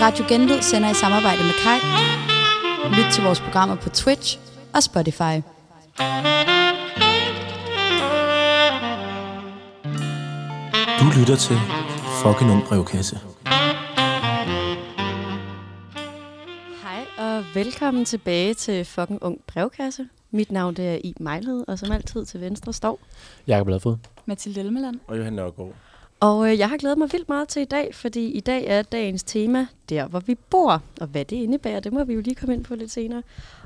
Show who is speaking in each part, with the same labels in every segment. Speaker 1: Radio Genlyd sender i samarbejde med Kai. Lyt til vores programmer på Twitch og Spotify.
Speaker 2: Du lytter til Fucking Ung Brevkasse.
Speaker 3: Hej og velkommen tilbage til Fucking Ung Brevkasse. Mit navn det er I Mejlhed, og som altid til venstre står.
Speaker 4: Jakob Ladfod.
Speaker 5: Mathilde Elmeland.
Speaker 2: Og Johan Nørgaard.
Speaker 3: Og øh, jeg har glædet mig vildt meget til i dag, fordi i dag er dagens tema der, hvor vi bor. Og hvad det indebærer, det må vi jo lige komme ind på lidt senere.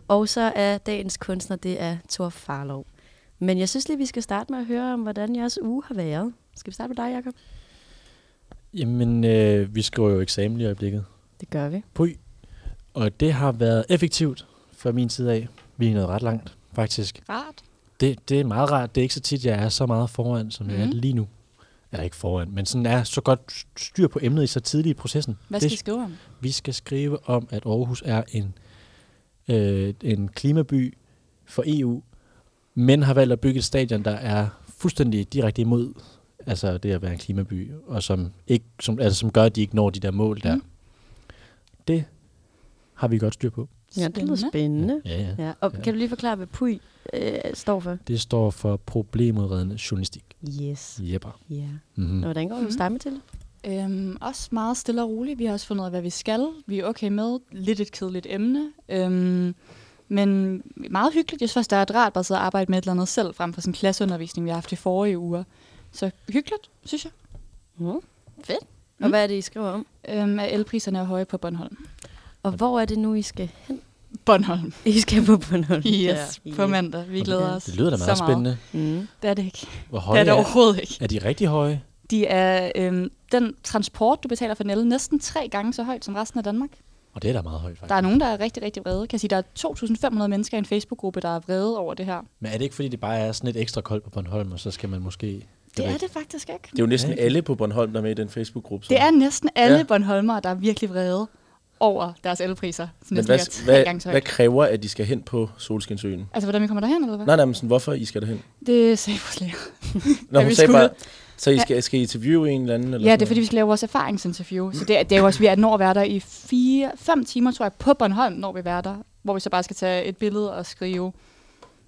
Speaker 3: Og så er dagens kunstner, det er Thor Farlov. Men jeg synes lige, vi skal starte med at høre om, hvordan jeres uge har været. Skal vi starte med dig, Jacob?
Speaker 4: Jamen, øh, vi skriver jo eksamen i øjeblikket.
Speaker 3: Det gør vi.
Speaker 4: Pøj. Og det har været effektivt fra min side af. Vi er nået ret langt, faktisk.
Speaker 5: Rart.
Speaker 4: Det, det er meget rart. Det er ikke så tit, jeg er så meget foran, som mm. jeg er
Speaker 5: Mhm.
Speaker 4: lige nu. Eller ikke foran, men sådan er så godt styr på emnet i så tidlig i processen.
Speaker 5: Hvad
Speaker 4: det,
Speaker 5: skal I skrive om?
Speaker 4: Vi skal skrive om, at Aarhus er en, øh, en klimaby for EU, men har valgt at bygge et stadion, der er fuldstændig direkte imod altså det at være en klimaby, og som, ikke, som, altså, som gør, at de ikke når de der mål der. Mm. Det har vi godt styr på.
Speaker 3: Ja, det lyder spændende.
Speaker 4: Ja, ja.
Speaker 3: Ja, og ja. kan du lige forklare, hvad PUI øh, står for?
Speaker 4: Det står for problemudredende journalistik.
Speaker 3: Yes. Mm.
Speaker 4: Jepper.
Speaker 3: Ja.
Speaker 4: Mm-hmm.
Speaker 3: Nå, hvordan går du stamme til?
Speaker 5: Øhm, også meget stille og roligt. Vi har også fundet ud af, hvad vi skal. Vi er okay med. Lidt et kedeligt emne. Øhm, men meget hyggeligt. Jeg synes faktisk, det er ret rart bare at sidde og arbejde med et eller andet selv, frem for sådan en klasseundervisning, vi har haft i forrige uger. Så hyggeligt, synes jeg.
Speaker 3: Mm. Fedt. Og hvad er det, I skriver om?
Speaker 5: Øhm, at elpriserne er høje på Bornholm.
Speaker 3: Og hvor er det nu, I skal hen?
Speaker 5: Bornholm.
Speaker 3: I skal på Bornholm.
Speaker 5: Yes, ja. på mandag. Vi glæder os
Speaker 4: Det lyder da
Speaker 5: så
Speaker 4: meget spændende.
Speaker 3: Mm.
Speaker 5: Det er det ikke.
Speaker 4: Hvor
Speaker 5: Det
Speaker 4: høje
Speaker 5: er det
Speaker 4: er,
Speaker 5: overhovedet ikke.
Speaker 4: er de rigtig høje?
Speaker 5: De er øhm, den transport, du betaler for en el, næsten tre gange så højt som resten af Danmark.
Speaker 4: Og det er da meget højt, faktisk.
Speaker 5: Der er nogen, der er rigtig, rigtig vrede. Kan jeg sige, der er 2.500 mennesker i en Facebook-gruppe, der er vrede over det her.
Speaker 4: Men er det ikke, fordi det bare er sådan lidt ekstra koldt på Bornholm, og så skal man måske...
Speaker 5: Det
Speaker 4: ved
Speaker 5: er
Speaker 4: ikke.
Speaker 5: det faktisk ikke.
Speaker 6: Det er jo næsten alle på Bornholm, der er med i den Facebook-gruppe. så.
Speaker 5: Det er næsten alle ja.
Speaker 6: Ja.
Speaker 5: Bornholmere, der er virkelig vrede over deres elpriser. Som
Speaker 6: Men
Speaker 5: næsten ligger
Speaker 6: hvad,
Speaker 5: tre gange så
Speaker 6: hvad, hvad
Speaker 5: højt.
Speaker 6: kræver, at de skal hen på Solskinsøen?
Speaker 5: Altså, hvordan vi kommer derhen, eller hvad?
Speaker 6: Nej, nej, men sådan, hvorfor I skal derhen?
Speaker 5: Det sagde vores lærer.
Speaker 6: Nå,
Speaker 5: Ja,
Speaker 6: hun
Speaker 5: vi
Speaker 6: sagde
Speaker 5: skulle.
Speaker 6: bare, så I skal, skal I interviewe en eller anden? Eller
Speaker 5: Ja,
Speaker 6: sådan
Speaker 5: det er fordi, vi skal lave vores erfaringsinterview. Så det, er- det er jo også, vi er når at være der i 5 timer, tror jeg, på Bornholm, når vi er der. Hvor vi så bare skal tage et billede og skrive.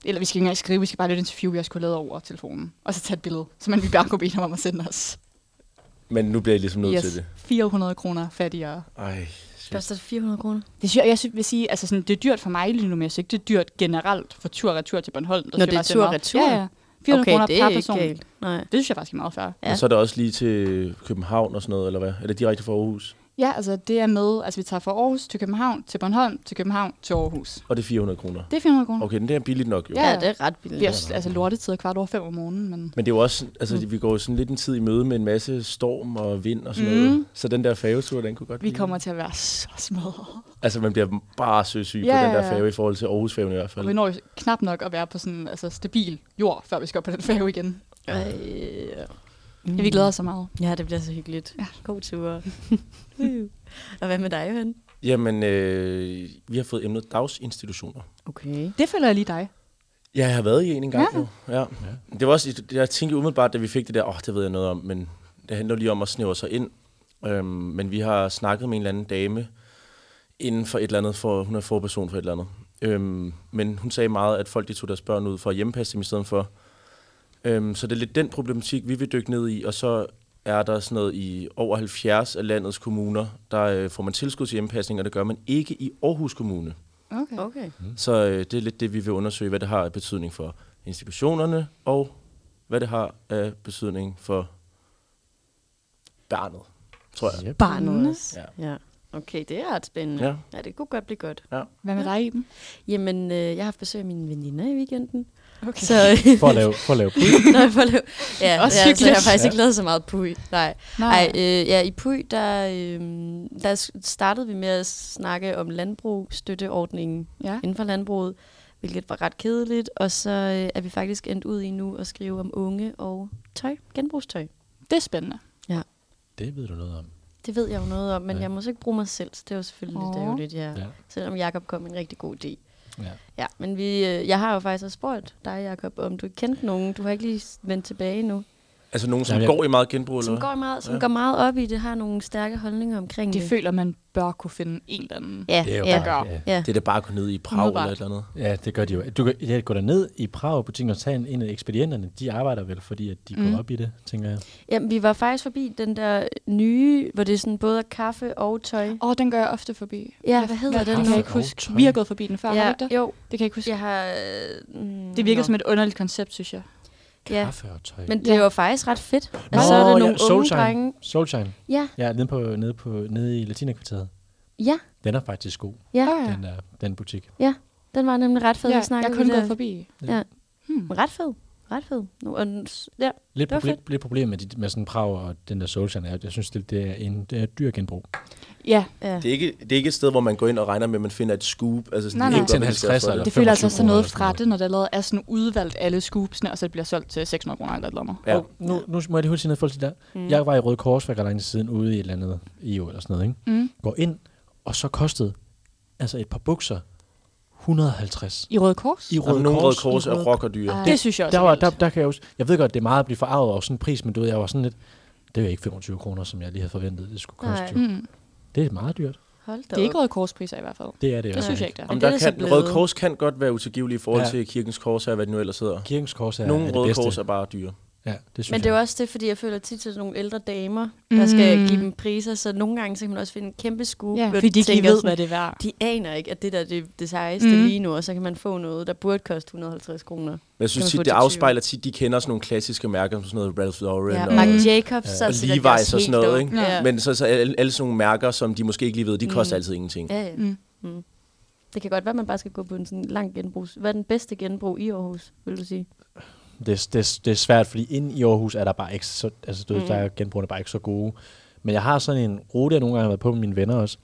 Speaker 5: Eller vi skal ikke engang skrive, vi skal bare lave et interview, vi også kunne lave over telefonen. Og så tage et billede, så man vi bare kunne bede ham om at sende os.
Speaker 6: noget? Men nu bliver I ligesom nødt til
Speaker 5: Yes,
Speaker 6: det.
Speaker 5: 400 kroner fattigere.
Speaker 6: Ej, shit.
Speaker 3: Koster det 400 kroner?
Speaker 5: Det synes jeg, jeg synes, vil sige, altså sådan, det er dyrt for mig lige nu, men jeg synes ikke, det er dyrt generelt for tur og retur til Bornholm. Der
Speaker 3: Nå,
Speaker 5: synes jeg
Speaker 3: det er
Speaker 5: faktisk,
Speaker 3: tur og
Speaker 5: meget-
Speaker 3: retur?
Speaker 5: Ja, ja. 400 okay, kroner
Speaker 3: det
Speaker 5: per
Speaker 3: er
Speaker 5: person.
Speaker 3: ikke galt. Nej.
Speaker 5: Det synes jeg faktisk er meget fair.
Speaker 3: Ja.
Speaker 6: Og så er der også lige til København og sådan noget, eller hvad? Er det direkte fra Aarhus?
Speaker 5: Ja, altså det er med, altså vi tager fra Aarhus til København, til Bornholm, til København, til Aarhus.
Speaker 6: Og det er 400 kroner.
Speaker 5: Det er 400 kroner.
Speaker 6: Okay, den der er billigt nok jo.
Speaker 5: Ja,
Speaker 3: Ja,
Speaker 5: ja.
Speaker 3: det er ret
Speaker 5: Vi
Speaker 3: billigt.
Speaker 5: er også, altså lortetid er kvart over fem om morgenen, men...
Speaker 6: Men det er jo også, altså
Speaker 5: Mm.
Speaker 6: vi går jo sådan lidt en tid i møde med en masse storm og vind og sådan
Speaker 5: Mm.
Speaker 6: noget. Så den der færgetur, den kunne godt
Speaker 5: Vi
Speaker 6: blive-
Speaker 5: kommer til at være så smadret.
Speaker 6: Altså man bliver bare søsyg
Speaker 5: Ja,
Speaker 6: på den
Speaker 5: ja,
Speaker 6: der
Speaker 5: ja.
Speaker 6: færge i forhold til Aarhus-færgen i hvert fald.
Speaker 5: Og vi når jo knap nok at være på sådan altså, stabil jord, før vi skal op på den færge igen. Mm. Vi glæder os så meget.
Speaker 3: Ja, det bliver så hyggeligt. Ja. God tur. og hvad med dig, Johan?
Speaker 6: Jamen, øh, vi har fået emnet daginstitutioner.
Speaker 3: Okay.
Speaker 5: Det føler jeg lige dig.
Speaker 6: Ja, jeg har været i en engang
Speaker 5: Ja.
Speaker 6: ja. jo. Ja. Det var også, jeg tænkte umiddelbart, da vi fik det der, åh, oh, det ved jeg noget om, men det handler lige om at snævre sig ind. Øhm, men vi har snakket med en eller anden dame inden for et eller andet, for, hun er forperson for et eller andet. Øhm, men hun sagde meget, at folk de tog deres børn ud for at hjemmepasse dem i stedet for. Øhm, så det er lidt den problematik, vi vil dykke ned i, og så er der sådan noget i over 70 af landets kommuner, der øh, får man tilskud til hjemmepasning, og det gør man ikke i Aarhus Kommune.
Speaker 5: Okay.
Speaker 3: Okay.
Speaker 6: Så øh, det er lidt det, vi vil undersøge, hvad det har af betydning for institutionerne, og hvad det har af betydning for barnet, tror jeg.
Speaker 4: Yep.
Speaker 3: Barnet også.
Speaker 6: Ja.
Speaker 3: Ja. Okay, det er ret spændende.
Speaker 6: Ja.
Speaker 3: ja, det kunne godt blive godt.
Speaker 5: Hvad med dig, Iben?
Speaker 3: Jamen, øh, jeg har haft besøg af mine veninder i weekenden.
Speaker 5: Okay.
Speaker 3: Så,
Speaker 4: For at lave, for at lave
Speaker 3: Nej, for at lave. Ja, Også
Speaker 5: Også
Speaker 3: ja, så jeg
Speaker 5: hyggeligt.
Speaker 3: har faktisk ikke lavet så meget Puy. Nej.
Speaker 5: Nej.
Speaker 3: Ej, øh, ja, i Puy, der, øh, der s- startede vi med at snakke om landbrug, støtteordningen
Speaker 5: Ja.
Speaker 3: inden for landbruget, hvilket var ret kedeligt, og så øh, er vi faktisk endt ud i nu at skrive om unge og tøj, genbrugstøj.
Speaker 5: Det er spændende.
Speaker 4: Det ved du noget om.
Speaker 3: Det ved jeg jo noget om, men
Speaker 4: Ja.
Speaker 3: jeg må så ikke bruge mig selv, så det er jo selvfølgelig lidt
Speaker 5: Åh.
Speaker 3: ærgerligt, ja.
Speaker 4: Ja.
Speaker 3: Selvom Jakob kom med en rigtig god idé.
Speaker 4: Ja.
Speaker 3: Ja, men vi, øh, jeg har jo faktisk også spurgt dig, Jakob, om du kendte nogen. Du har ikke lige s- vendt tilbage nu.
Speaker 6: Altså nogen, som
Speaker 4: Jamen, jeg-
Speaker 6: går i meget genbrug, eller
Speaker 3: Som,
Speaker 6: hvad?
Speaker 3: går meget, som
Speaker 6: Ja.
Speaker 3: ja. går meget op i det, har nogle stærke holdninger omkring
Speaker 5: Det
Speaker 3: det.
Speaker 5: føler man bør kunne finde en eller anden.
Speaker 3: Mm. ja,
Speaker 4: Det er jo
Speaker 3: ja,
Speaker 4: bare, ja.
Speaker 3: ja.
Speaker 6: Det er da bare at gå ned i Prag eller
Speaker 5: Umiddelbart.
Speaker 6: et eller andet.
Speaker 4: Ja, det gør de jo. Du kan ja, gå derned i Prag butikken og tage en, en af ekspedienterne. De arbejder vel, fordi at de mm.
Speaker 5: Mm.
Speaker 4: går op i det, tænker jeg.
Speaker 3: Jamen, vi var faktisk forbi den der nye, hvor det er sådan både er kaffe og tøj.
Speaker 5: Åh, oh, den går jeg ofte forbi.
Speaker 3: Ja, hvad hedder den
Speaker 5: Det kan
Speaker 4: nu?
Speaker 5: jeg ikke huske.
Speaker 4: Tøj.
Speaker 5: Vi har gået forbi den før, ja. har
Speaker 3: ja,
Speaker 5: vi ikke det?
Speaker 3: jo,
Speaker 5: Det kan jeg ikke huske. Ja.
Speaker 3: jeg har... Mm,
Speaker 5: Det virker
Speaker 3: nå.
Speaker 5: som et underligt koncept, synes jeg.
Speaker 3: Ja.
Speaker 4: Kaffe og tøj.
Speaker 3: Men det er jo faktisk ret fedt.
Speaker 4: Nå,
Speaker 3: Og så er der nogle
Speaker 4: ja,
Speaker 3: unge
Speaker 4: Soulshine.
Speaker 3: drenge.
Speaker 4: Soulshine.
Speaker 3: Ja,
Speaker 4: Ja, nede, på, nede, på, nede i Latinakvarteret.
Speaker 3: ja,
Speaker 4: Den er faktisk god,
Speaker 3: ja.
Speaker 5: Åh,
Speaker 4: ja. den, der, den butik.
Speaker 3: Den var nemlig ret fed,
Speaker 5: ja,
Speaker 3: vi snakkede
Speaker 5: jeg har kun
Speaker 3: om det
Speaker 5: gået
Speaker 3: der.
Speaker 5: forbi.
Speaker 3: Ja.
Speaker 5: Hmm.
Speaker 3: Ret fed, ret fed. Nu, og, den s- ja,
Speaker 4: Lidt,
Speaker 3: Det var
Speaker 4: proble- lidt problem med, de, med sådan Prag og den der Soulshine er, at jeg synes, det, det er en det er et dyr genbrug.
Speaker 5: Ja,
Speaker 3: ja.
Speaker 6: Det er, ikke, det er ikke et sted, hvor man går ind og regner med, at man finder et scoop. Altså sådan,
Speaker 5: Nej,
Speaker 6: det
Speaker 5: nej.
Speaker 6: er
Speaker 5: Ikke til
Speaker 4: en
Speaker 6: hvad det er
Speaker 4: 50'er
Speaker 6: for
Speaker 4: eller
Speaker 5: det føler altså
Speaker 4: 25
Speaker 5: også noget
Speaker 4: kroner
Speaker 5: fra
Speaker 4: eller sådan
Speaker 5: det, når det allerede er sådan udvalgt alle scoopsene, og så det bliver solgt til 600 kroner eller et eller andet.
Speaker 6: Ja.
Speaker 4: Og nu, nu må jeg lige hurtigt sige noget i forhold til det der. Mm. Jeg var i Røde Kors for ikke ret lang tid siden ude i et eller andet EU eller sådan noget. Ikke?
Speaker 5: Mm.
Speaker 4: Går ind, og så kostede altså et par bukser 150
Speaker 5: I Røde Kors?
Speaker 4: i
Speaker 6: Røde
Speaker 4: Røde
Speaker 6: Nogle røde
Speaker 4: Kors.
Speaker 6: kors er rockerdyr.
Speaker 5: Det synes jeg også
Speaker 4: Der,
Speaker 5: er
Speaker 4: var, der,
Speaker 5: vildt.
Speaker 4: der kan jeg, jo, jeg ved godt, det er meget at blive forarvet over sådan en pris, men du ved, jeg var sådan lidt, det er ikke 25 kroner, som jeg lige havde forventet, det skulle koste.
Speaker 3: Nej.
Speaker 4: jo.
Speaker 5: Mm.
Speaker 4: Det er meget dyrt.
Speaker 3: Hold da
Speaker 5: Det er ikke
Speaker 3: op.
Speaker 5: Røde Korspriser i hvert fald.
Speaker 4: Det er det.
Speaker 5: Det
Speaker 4: jo.
Speaker 5: synes jeg ikke, der er.
Speaker 6: Om
Speaker 3: det er
Speaker 6: der
Speaker 3: det så
Speaker 6: kan, Røde
Speaker 3: blevet.
Speaker 6: Kors kan godt være utilgivelige i forhold
Speaker 4: Ja.
Speaker 6: ja. til kirkens kors og hvad det nu ellers hedder.
Speaker 4: Kirkens Kors er,
Speaker 6: Nogle
Speaker 4: er det
Speaker 6: røde
Speaker 4: bedste.
Speaker 6: kors er bare dyre.
Speaker 4: Ja, det synes
Speaker 3: Men det er
Speaker 4: jeg.
Speaker 3: jo også det, fordi jeg føler tit til sådan nogle ældre damer, der skal
Speaker 5: Mm.
Speaker 3: give dem priser, så nogle gange så kan man også finde en kæmpe skue.
Speaker 5: Ja, fordi de ikke lige ved, hvad det er værd.
Speaker 3: De aner ikke, at det der det er det sejeste
Speaker 5: Mm.
Speaker 3: mm. lige nu, og så kan man få noget, der burde koste 150 kroner.
Speaker 6: Men jeg synes
Speaker 3: Kan man
Speaker 6: tit,
Speaker 3: få
Speaker 6: det
Speaker 3: til tyve?
Speaker 6: afspejler tit, de kender sådan nogle klassiske mærker, som sådan noget Ralph Lauren
Speaker 3: Ja,
Speaker 6: ja,
Speaker 3: og
Speaker 6: og,
Speaker 3: Marc Jacobs, så er
Speaker 6: og
Speaker 3: det sikkert
Speaker 6: Levi's
Speaker 3: også
Speaker 6: og
Speaker 3: helt
Speaker 6: sådan noget.
Speaker 3: dumt.
Speaker 6: Ikke?
Speaker 3: Ja.
Speaker 6: Ja. Men så, så alle, alle sådan nogle mærker, som de måske ikke lige ved, de koster altid ingenting.
Speaker 3: Ja, ja.
Speaker 5: Mm.
Speaker 3: Mm. Mm. Det kan godt være, at man bare skal gå på en sådan lang genbrug. Hvad er den bedste genbrug i Aarhus, vil du sige?
Speaker 4: det, er- det, er- det er svært, fordi inde i Aarhus er der bare ikke så, altså du mm. ved,
Speaker 3: Mm.
Speaker 4: der er genbrugene bare ikke så gode. Men jeg har sådan en rute, jeg nogle gange har været på med mine venner også,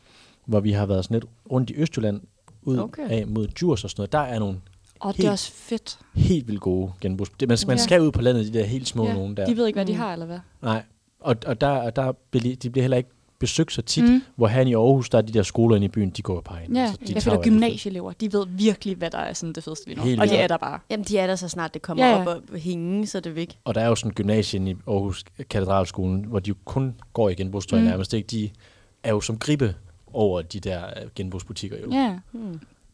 Speaker 4: hvor vi har været sådan lidt rundt i Østjylland, ud okay.
Speaker 3: Okay.
Speaker 4: af mod Djurs og sådan noget. Der er nogle
Speaker 5: Og det
Speaker 4: Helt.
Speaker 5: er også fedt.
Speaker 4: helt vildt gode genbrugs. Det, man, man
Speaker 5: Ja.
Speaker 4: skal ud på landet, de der helt små
Speaker 5: Ja.
Speaker 4: ja, nogen der.
Speaker 5: De ved ikke, hvad
Speaker 3: Mm.
Speaker 5: de har, eller hvad?
Speaker 4: Nej, og, og der, og der bliver, de bliver heller ikke besøgt så tit, mm.
Speaker 5: Mm.
Speaker 4: hvor herinde i Aarhus, der er de der skoler inde i byen, de går bare ind.
Speaker 5: Ja,
Speaker 4: Altså, de
Speaker 5: jeg
Speaker 4: tager
Speaker 5: føler
Speaker 4: jo
Speaker 5: gymnasieelever, de ved virkelig, hvad der er sådan det fedeste lige nu.
Speaker 4: Helt
Speaker 5: Og de
Speaker 4: vildt.
Speaker 5: er der bare.
Speaker 3: Jamen, de er der så snart, det kommer
Speaker 5: Ja,
Speaker 3: ja,
Speaker 5: ja.
Speaker 3: ja. op og hænge, så er det væk.
Speaker 4: Og der er jo sådan et gymnasie inde i Aarhus Katedralskolen, hvor de jo kun går i genbrugstøj mm.
Speaker 5: Mm.
Speaker 4: nærmest. Ikke? De er jo som gribe over de der øh, genbrugsbutikker. Jo.
Speaker 5: Ja.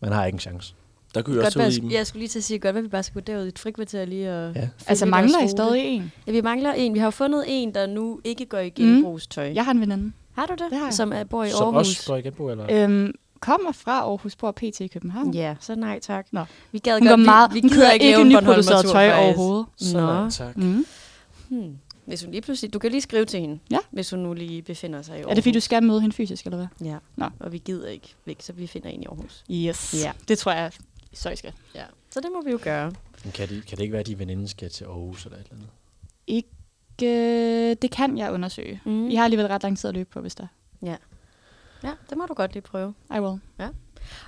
Speaker 4: Man har ikke en chance.
Speaker 6: Der kunne vi
Speaker 3: Godt,
Speaker 6: også
Speaker 3: være,
Speaker 6: ud
Speaker 3: jeg,
Speaker 6: i dem.
Speaker 3: skulle- jeg skulle lige til at sige, godt, hvad vi bare skal gå derud i et frikvarter lige og...
Speaker 4: Ja.
Speaker 3: fylde
Speaker 5: Altså
Speaker 3: lidt
Speaker 5: mangler I
Speaker 3: vores rute.
Speaker 5: stadig en?
Speaker 3: Ja, vi mangler en. Vi har jo fundet en, der nu ikke går i genbrugstøj. Mm.
Speaker 5: Jeg har en veninde.
Speaker 3: Har du det?
Speaker 5: Det har jeg.
Speaker 3: Som er, bor i
Speaker 4: Som
Speaker 3: Aarhus.
Speaker 4: også går i genbrug, eller?
Speaker 5: Øhm, kommer fra Aarhus, bor pt. i København.
Speaker 3: Ja, så nej tak.
Speaker 5: Nå.
Speaker 3: Vi gad
Speaker 5: Hun,
Speaker 3: godt,
Speaker 5: går meget,
Speaker 3: vi, vi
Speaker 5: hun
Speaker 3: gider
Speaker 5: kører
Speaker 3: ikke lave
Speaker 5: ikke
Speaker 3: en
Speaker 5: nyproduceret
Speaker 3: Bornholmertur,
Speaker 5: tøj
Speaker 3: faktisk.
Speaker 5: overhovedet.
Speaker 3: Nå.
Speaker 4: tak.
Speaker 5: Mm.
Speaker 3: Hmm. Hvis hun lige pludselig... Du kan lige skrive til hende,
Speaker 5: Ja.
Speaker 3: hvis hun nu lige befinder sig i Aarhus.
Speaker 5: Er det fordi, du skal møde hende fysisk, eller hvad?
Speaker 3: Ja,
Speaker 5: Nå.
Speaker 3: og vi gider ikke væk, så vi finder en i Aarhus.
Speaker 5: Yes.
Speaker 3: Ja.
Speaker 5: Det tror jeg, så I skal.
Speaker 3: Ja. Så det må vi jo gøre.
Speaker 4: Men Kan, det, kan det ikke være, at de veninde skal til Aarhus eller et eller andet?
Speaker 5: Øh, det kan jeg undersøge.
Speaker 3: Mm.
Speaker 5: I har alligevel ret lang tid at løbe på, hvis der
Speaker 3: Ja, det må du godt lige prøve.
Speaker 5: I will.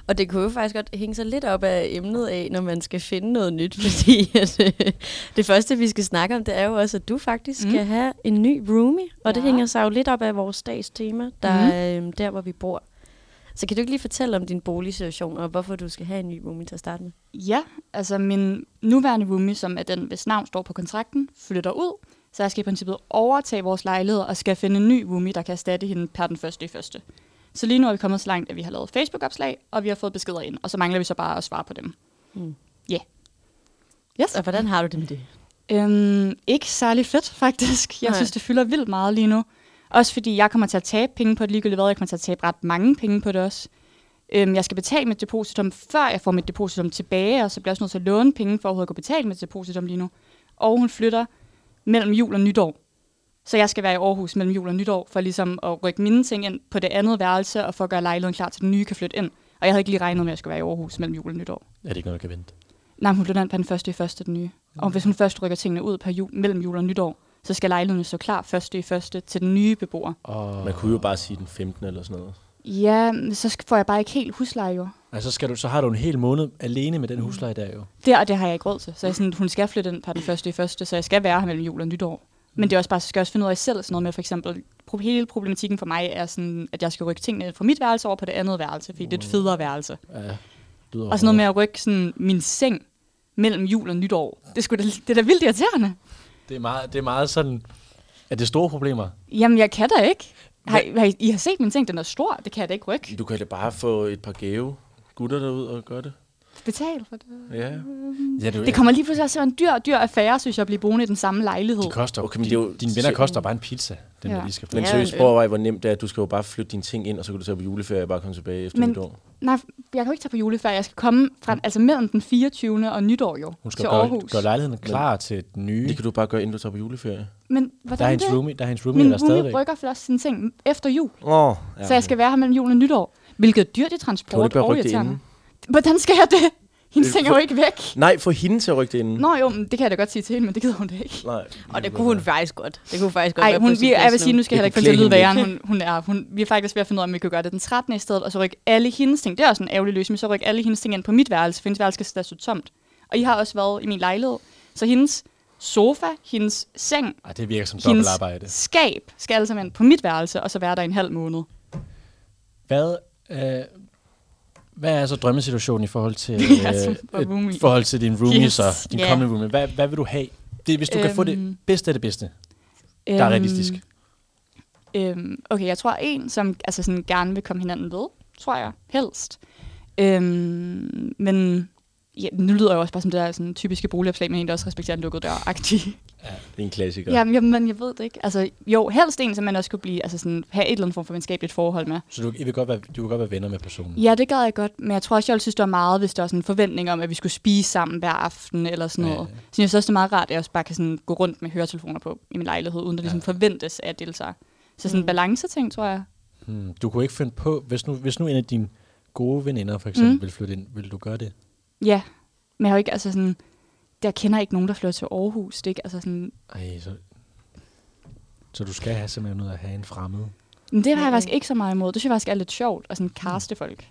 Speaker 3: Og det kunne jo faktisk godt hænge sig lidt op af emnet af, når man skal finde noget nyt, fordi at, øh, det første, vi skal snakke om, det er jo også, at du faktisk
Speaker 5: Mm.
Speaker 3: mm. skal have en ny roomie, og ja. det
Speaker 5: Ja.
Speaker 3: hænger sig jo lidt op af vores dags tema, der
Speaker 5: Mm.
Speaker 3: mm. øh, der, hvor vi bor. Så kan du ikke lige fortælle om din boligsituation, og hvorfor du skal have en ny roomie til at starte med?
Speaker 5: Ja, altså min nuværende roomie, som er den, hvis navn står på kontrakten, flytter ud. Så jeg skal i princippet overtage vores lejlighed og skal finde en ny roomie, der kan erstatte hende per den første i første. Så lige nu er vi kommet så langt, at vi har lavet Facebook-opslag, og vi har fået beskeder ind, og så mangler vi så bare at svare på dem.
Speaker 3: Mm.
Speaker 5: Ja. Yes.
Speaker 3: Og hvordan har du det med det?
Speaker 5: Øhm, ikke særlig fedt, faktisk. Jeg
Speaker 3: Nej.
Speaker 5: Nej. synes, det fylder vildt meget lige nu. Også fordi jeg kommer til at tabe penge på det ligegyldigt hvad. Jeg kommer til at tabe ret mange penge på det også. Øhm, jeg skal betale mit depositum, før jeg får mit depositum tilbage, og så bliver jeg også nødt til at låne penge for overhovedet at kunne betale mit depositum lige nu. Og hun flytter mellem jul og nytår. Så jeg skal være i Aarhus mellem jul og nytår, for ligesom at rykke mine ting ind på det andet værelse, og for at gøre lejligheden klar til, at den nye kan flytte ind. Og jeg havde ikke lige regnet med, at jeg skulle være i Aarhus mellem jul og nytår.
Speaker 4: Er det ikke noget, der kan vente?
Speaker 5: Nej, men hun flytter ind på den første i første den nye. Og hvis hun først rykker tingene ud per jul, mellem jul og nytår, så skal lejligheden stå klar første i første til den nye beboer.
Speaker 4: Og,
Speaker 6: Man kunne jo bare sige den 15. eller sådan noget.
Speaker 5: Ja, men så sk- får jeg bare ikke helt husleje jo.
Speaker 4: altså, skal du, så har du en hel måned alene med den husleje der jo.
Speaker 5: Det og det har jeg ikke råd til. Så jeg er sådan, hun skal flytte ind per den første i første, så jeg skal være her mellem jul og nytår. Men det er også bare, så skal jeg også finde ud af selv sådan noget med, for eksempel, pro- hele problematikken for mig er sådan, at jeg skal rykke tingene fra mit værelse over på det andet værelse, fordi det er et federe værelse.
Speaker 4: Ja, lyder
Speaker 5: Og sådan noget med Mm. at rykke sådan min seng mellem jul og nytår. Det, er sgu da, det er da vildt irriterende.
Speaker 4: hårdt. Det er meget, det er meget sådan... Er det store problemer?
Speaker 5: Jamen, jeg kan da ikke. Har, I- har I, I har set min ting, den er stor, det kan jeg da ikke rykke.
Speaker 6: Du kan da bare få et par gave gutter derud og gøre det.
Speaker 5: Betal for det.
Speaker 6: Ja.
Speaker 4: Ja, det,
Speaker 5: Det kommer lige pludselig også til at være en dyr, dyr affære, synes jeg, at blive boende i den samme lejlighed.
Speaker 4: De koster, okay,
Speaker 6: Okay,
Speaker 4: men
Speaker 6: men
Speaker 4: de,
Speaker 6: det er jo-
Speaker 4: dine venner
Speaker 6: så-
Speaker 4: koster bare en pizza, den ja.
Speaker 5: Ja.
Speaker 4: der lige skal få.
Speaker 6: Men
Speaker 3: Ja,
Speaker 6: seriøst,
Speaker 3: men-
Speaker 6: prøv at overveje, hvor nemt det er. Du skal jo bare flytte dine ting ind, og så kan du tage på juleferie og bare komme tilbage efter
Speaker 5: Men-
Speaker 6: nytår.
Speaker 5: Nej, jeg kan jo ikke tage på juleferie. Jeg skal komme fra, altså mellem den 24. og nytår jo,
Speaker 4: Mm. Hun skal
Speaker 5: til
Speaker 4: gøre,
Speaker 5: Aarhus.
Speaker 4: gøre lejligheden klar til den nye.
Speaker 6: Det kan du bare gøre, inden du tager på juleferie.
Speaker 5: Men
Speaker 4: Der er
Speaker 5: hvordan
Speaker 4: hendes
Speaker 5: det?
Speaker 4: roomie, der er hendes roomie,
Speaker 5: Min
Speaker 4: der er stadigvæk.
Speaker 5: roomie rykker for også sine ting efter jul,
Speaker 6: Åh, oh, ja.
Speaker 5: ja, så jeg skal være her mellem jul og nytår. Hvilket er dyrt i
Speaker 6: Kan du
Speaker 5: transport
Speaker 6: ikke bare
Speaker 5: og
Speaker 6: rykke det
Speaker 5: irriterende.
Speaker 6: inden?
Speaker 5: Hvordan skal jeg det? Hendes
Speaker 6: Øh,
Speaker 5: ting er jo ikke væk.
Speaker 6: Nej, få hende til at rykke det
Speaker 4: Mm.
Speaker 6: inden.
Speaker 5: Nå jo, men det kan jeg da godt sige til hende, men det gider hun da ikke.
Speaker 6: Nej.
Speaker 3: Og det kunne hun faktisk godt. Det kunne faktisk godt
Speaker 5: Nej,
Speaker 3: være
Speaker 5: hun,
Speaker 3: på sin
Speaker 5: vi, jeg vil
Speaker 3: plads
Speaker 5: sige,
Speaker 3: nu.
Speaker 5: nu skal jeg
Speaker 6: Det
Speaker 5: heller ikke
Speaker 6: kunne
Speaker 5: få det til at lyde
Speaker 6: klæde
Speaker 5: værre,
Speaker 6: hende
Speaker 5: end hun, hun er. Hun, vi er faktisk ved at finde ud af, om vi kan gøre det den 13. i stedet, og så rykke alle hendes ting. Det er også en ærgerlig løsning, så rykke alle hendes ting ind på mit værelse, for hendes værelse skal stadig stå tomt. Og I har også været i min lejlighed, så hendes sofa, hendes seng,
Speaker 4: Ej, det virker som
Speaker 5: hendes
Speaker 4: dobbeltarbejde.
Speaker 5: skab skal alle sammen ind på mit værelse, og så være der i en halv måned.
Speaker 4: Hvad, øh, hvad er så drømmesituationen i forhold til,
Speaker 5: Ja, som altså for
Speaker 4: øh,
Speaker 5: roomie.
Speaker 4: i forhold til din roomie,
Speaker 5: Yes.
Speaker 4: yes. så, din
Speaker 3: Ja.
Speaker 4: yeah. kommende roomie? Hvad, hvad vil du have? Det, er, hvis du øhm, kan få det
Speaker 5: Øhm.
Speaker 4: bedste af det bedste, der er realistisk.
Speaker 5: Øhm, okay, jeg tror en, som altså sådan, gerne vil komme hinanden ved, tror jeg, helst. Øhm, men ja, nu lyder jeg jo også bare som det der sådan, typiske boligopslag, men en, der også respekterer en lukket dør-agtig.
Speaker 6: Det er en klassiker.
Speaker 5: Ja, men, jamen, jeg ved det ikke. Altså, jo, helst en, som man også kunne blive, altså sådan, have et eller andet form for venskabeligt forhold med.
Speaker 4: Så du, I vil godt være, du vil godt være venner med personen.
Speaker 5: Ja, det gad jeg godt, men jeg tror også, jeg ville synes, det var meget, hvis der var sådan en forventning om, at vi skulle spise sammen hver aften eller sådan
Speaker 4: Ja,
Speaker 5: noget. Så jeg synes også, det er meget rart, at jeg også bare kan sådan gå rundt med høretelefoner på i min lejlighed, uden der ligesom forventes, at jeg deltager. Så sådan en balanceting, tror jeg.
Speaker 4: Hmm, du kunne ikke finde på, hvis nu, hvis nu en af dine gode veninder for eksempel mm.
Speaker 5: Mm.
Speaker 4: ville flytte ind, ville du gøre det?
Speaker 5: Ja, men jeg har jo ikke, altså sådan, jeg kender ikke nogen, der flytter til Aarhus. Det er ikke, altså sådan,
Speaker 4: Ej, så, så du skal have simpelthen noget at have en fremmed.
Speaker 5: men det har jeg faktisk ikke så meget imod. Det synes jeg faktisk er lidt sjovt, at sådan caste folk.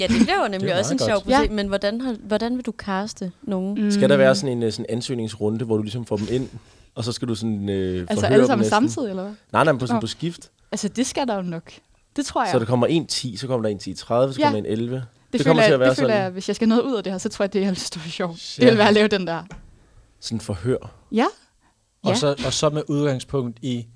Speaker 3: Ja, det bliver jo nemlig
Speaker 4: meget
Speaker 3: også en
Speaker 4: godt.
Speaker 3: sjov proces.
Speaker 5: Ja.
Speaker 3: Men hvordan, har, hvordan vil du kaste nogen?
Speaker 5: Mm.
Speaker 6: Skal der være sådan en øh, sådan ansøgningsrunde, hvor du ligesom får dem ind, og så skal du sådan øh,
Speaker 5: Altså
Speaker 6: forhøre
Speaker 5: alle
Speaker 6: dem
Speaker 5: sammen
Speaker 6: næsten?
Speaker 5: samtidig, eller hvad?
Speaker 6: Nej, nej, men på, sådan,
Speaker 5: Nå.
Speaker 6: på skift.
Speaker 5: Altså, det skal der jo nok. Det tror jeg.
Speaker 6: Så der kommer en 10, så kommer der en 10 30, så
Speaker 5: Ja.
Speaker 6: kommer der en 11. Det,
Speaker 5: Det, det
Speaker 6: kommer
Speaker 5: føler,
Speaker 6: til at være
Speaker 5: det føler
Speaker 6: sådan,
Speaker 5: jeg, hvis jeg skal noget ud af det her, så tror jeg, det er stort sjovt.
Speaker 4: Shit.
Speaker 5: Det vil være at lave den der.
Speaker 6: sådan forhør.
Speaker 5: Ja,
Speaker 4: Og,
Speaker 5: Ja.
Speaker 4: så, og så med udgangspunkt i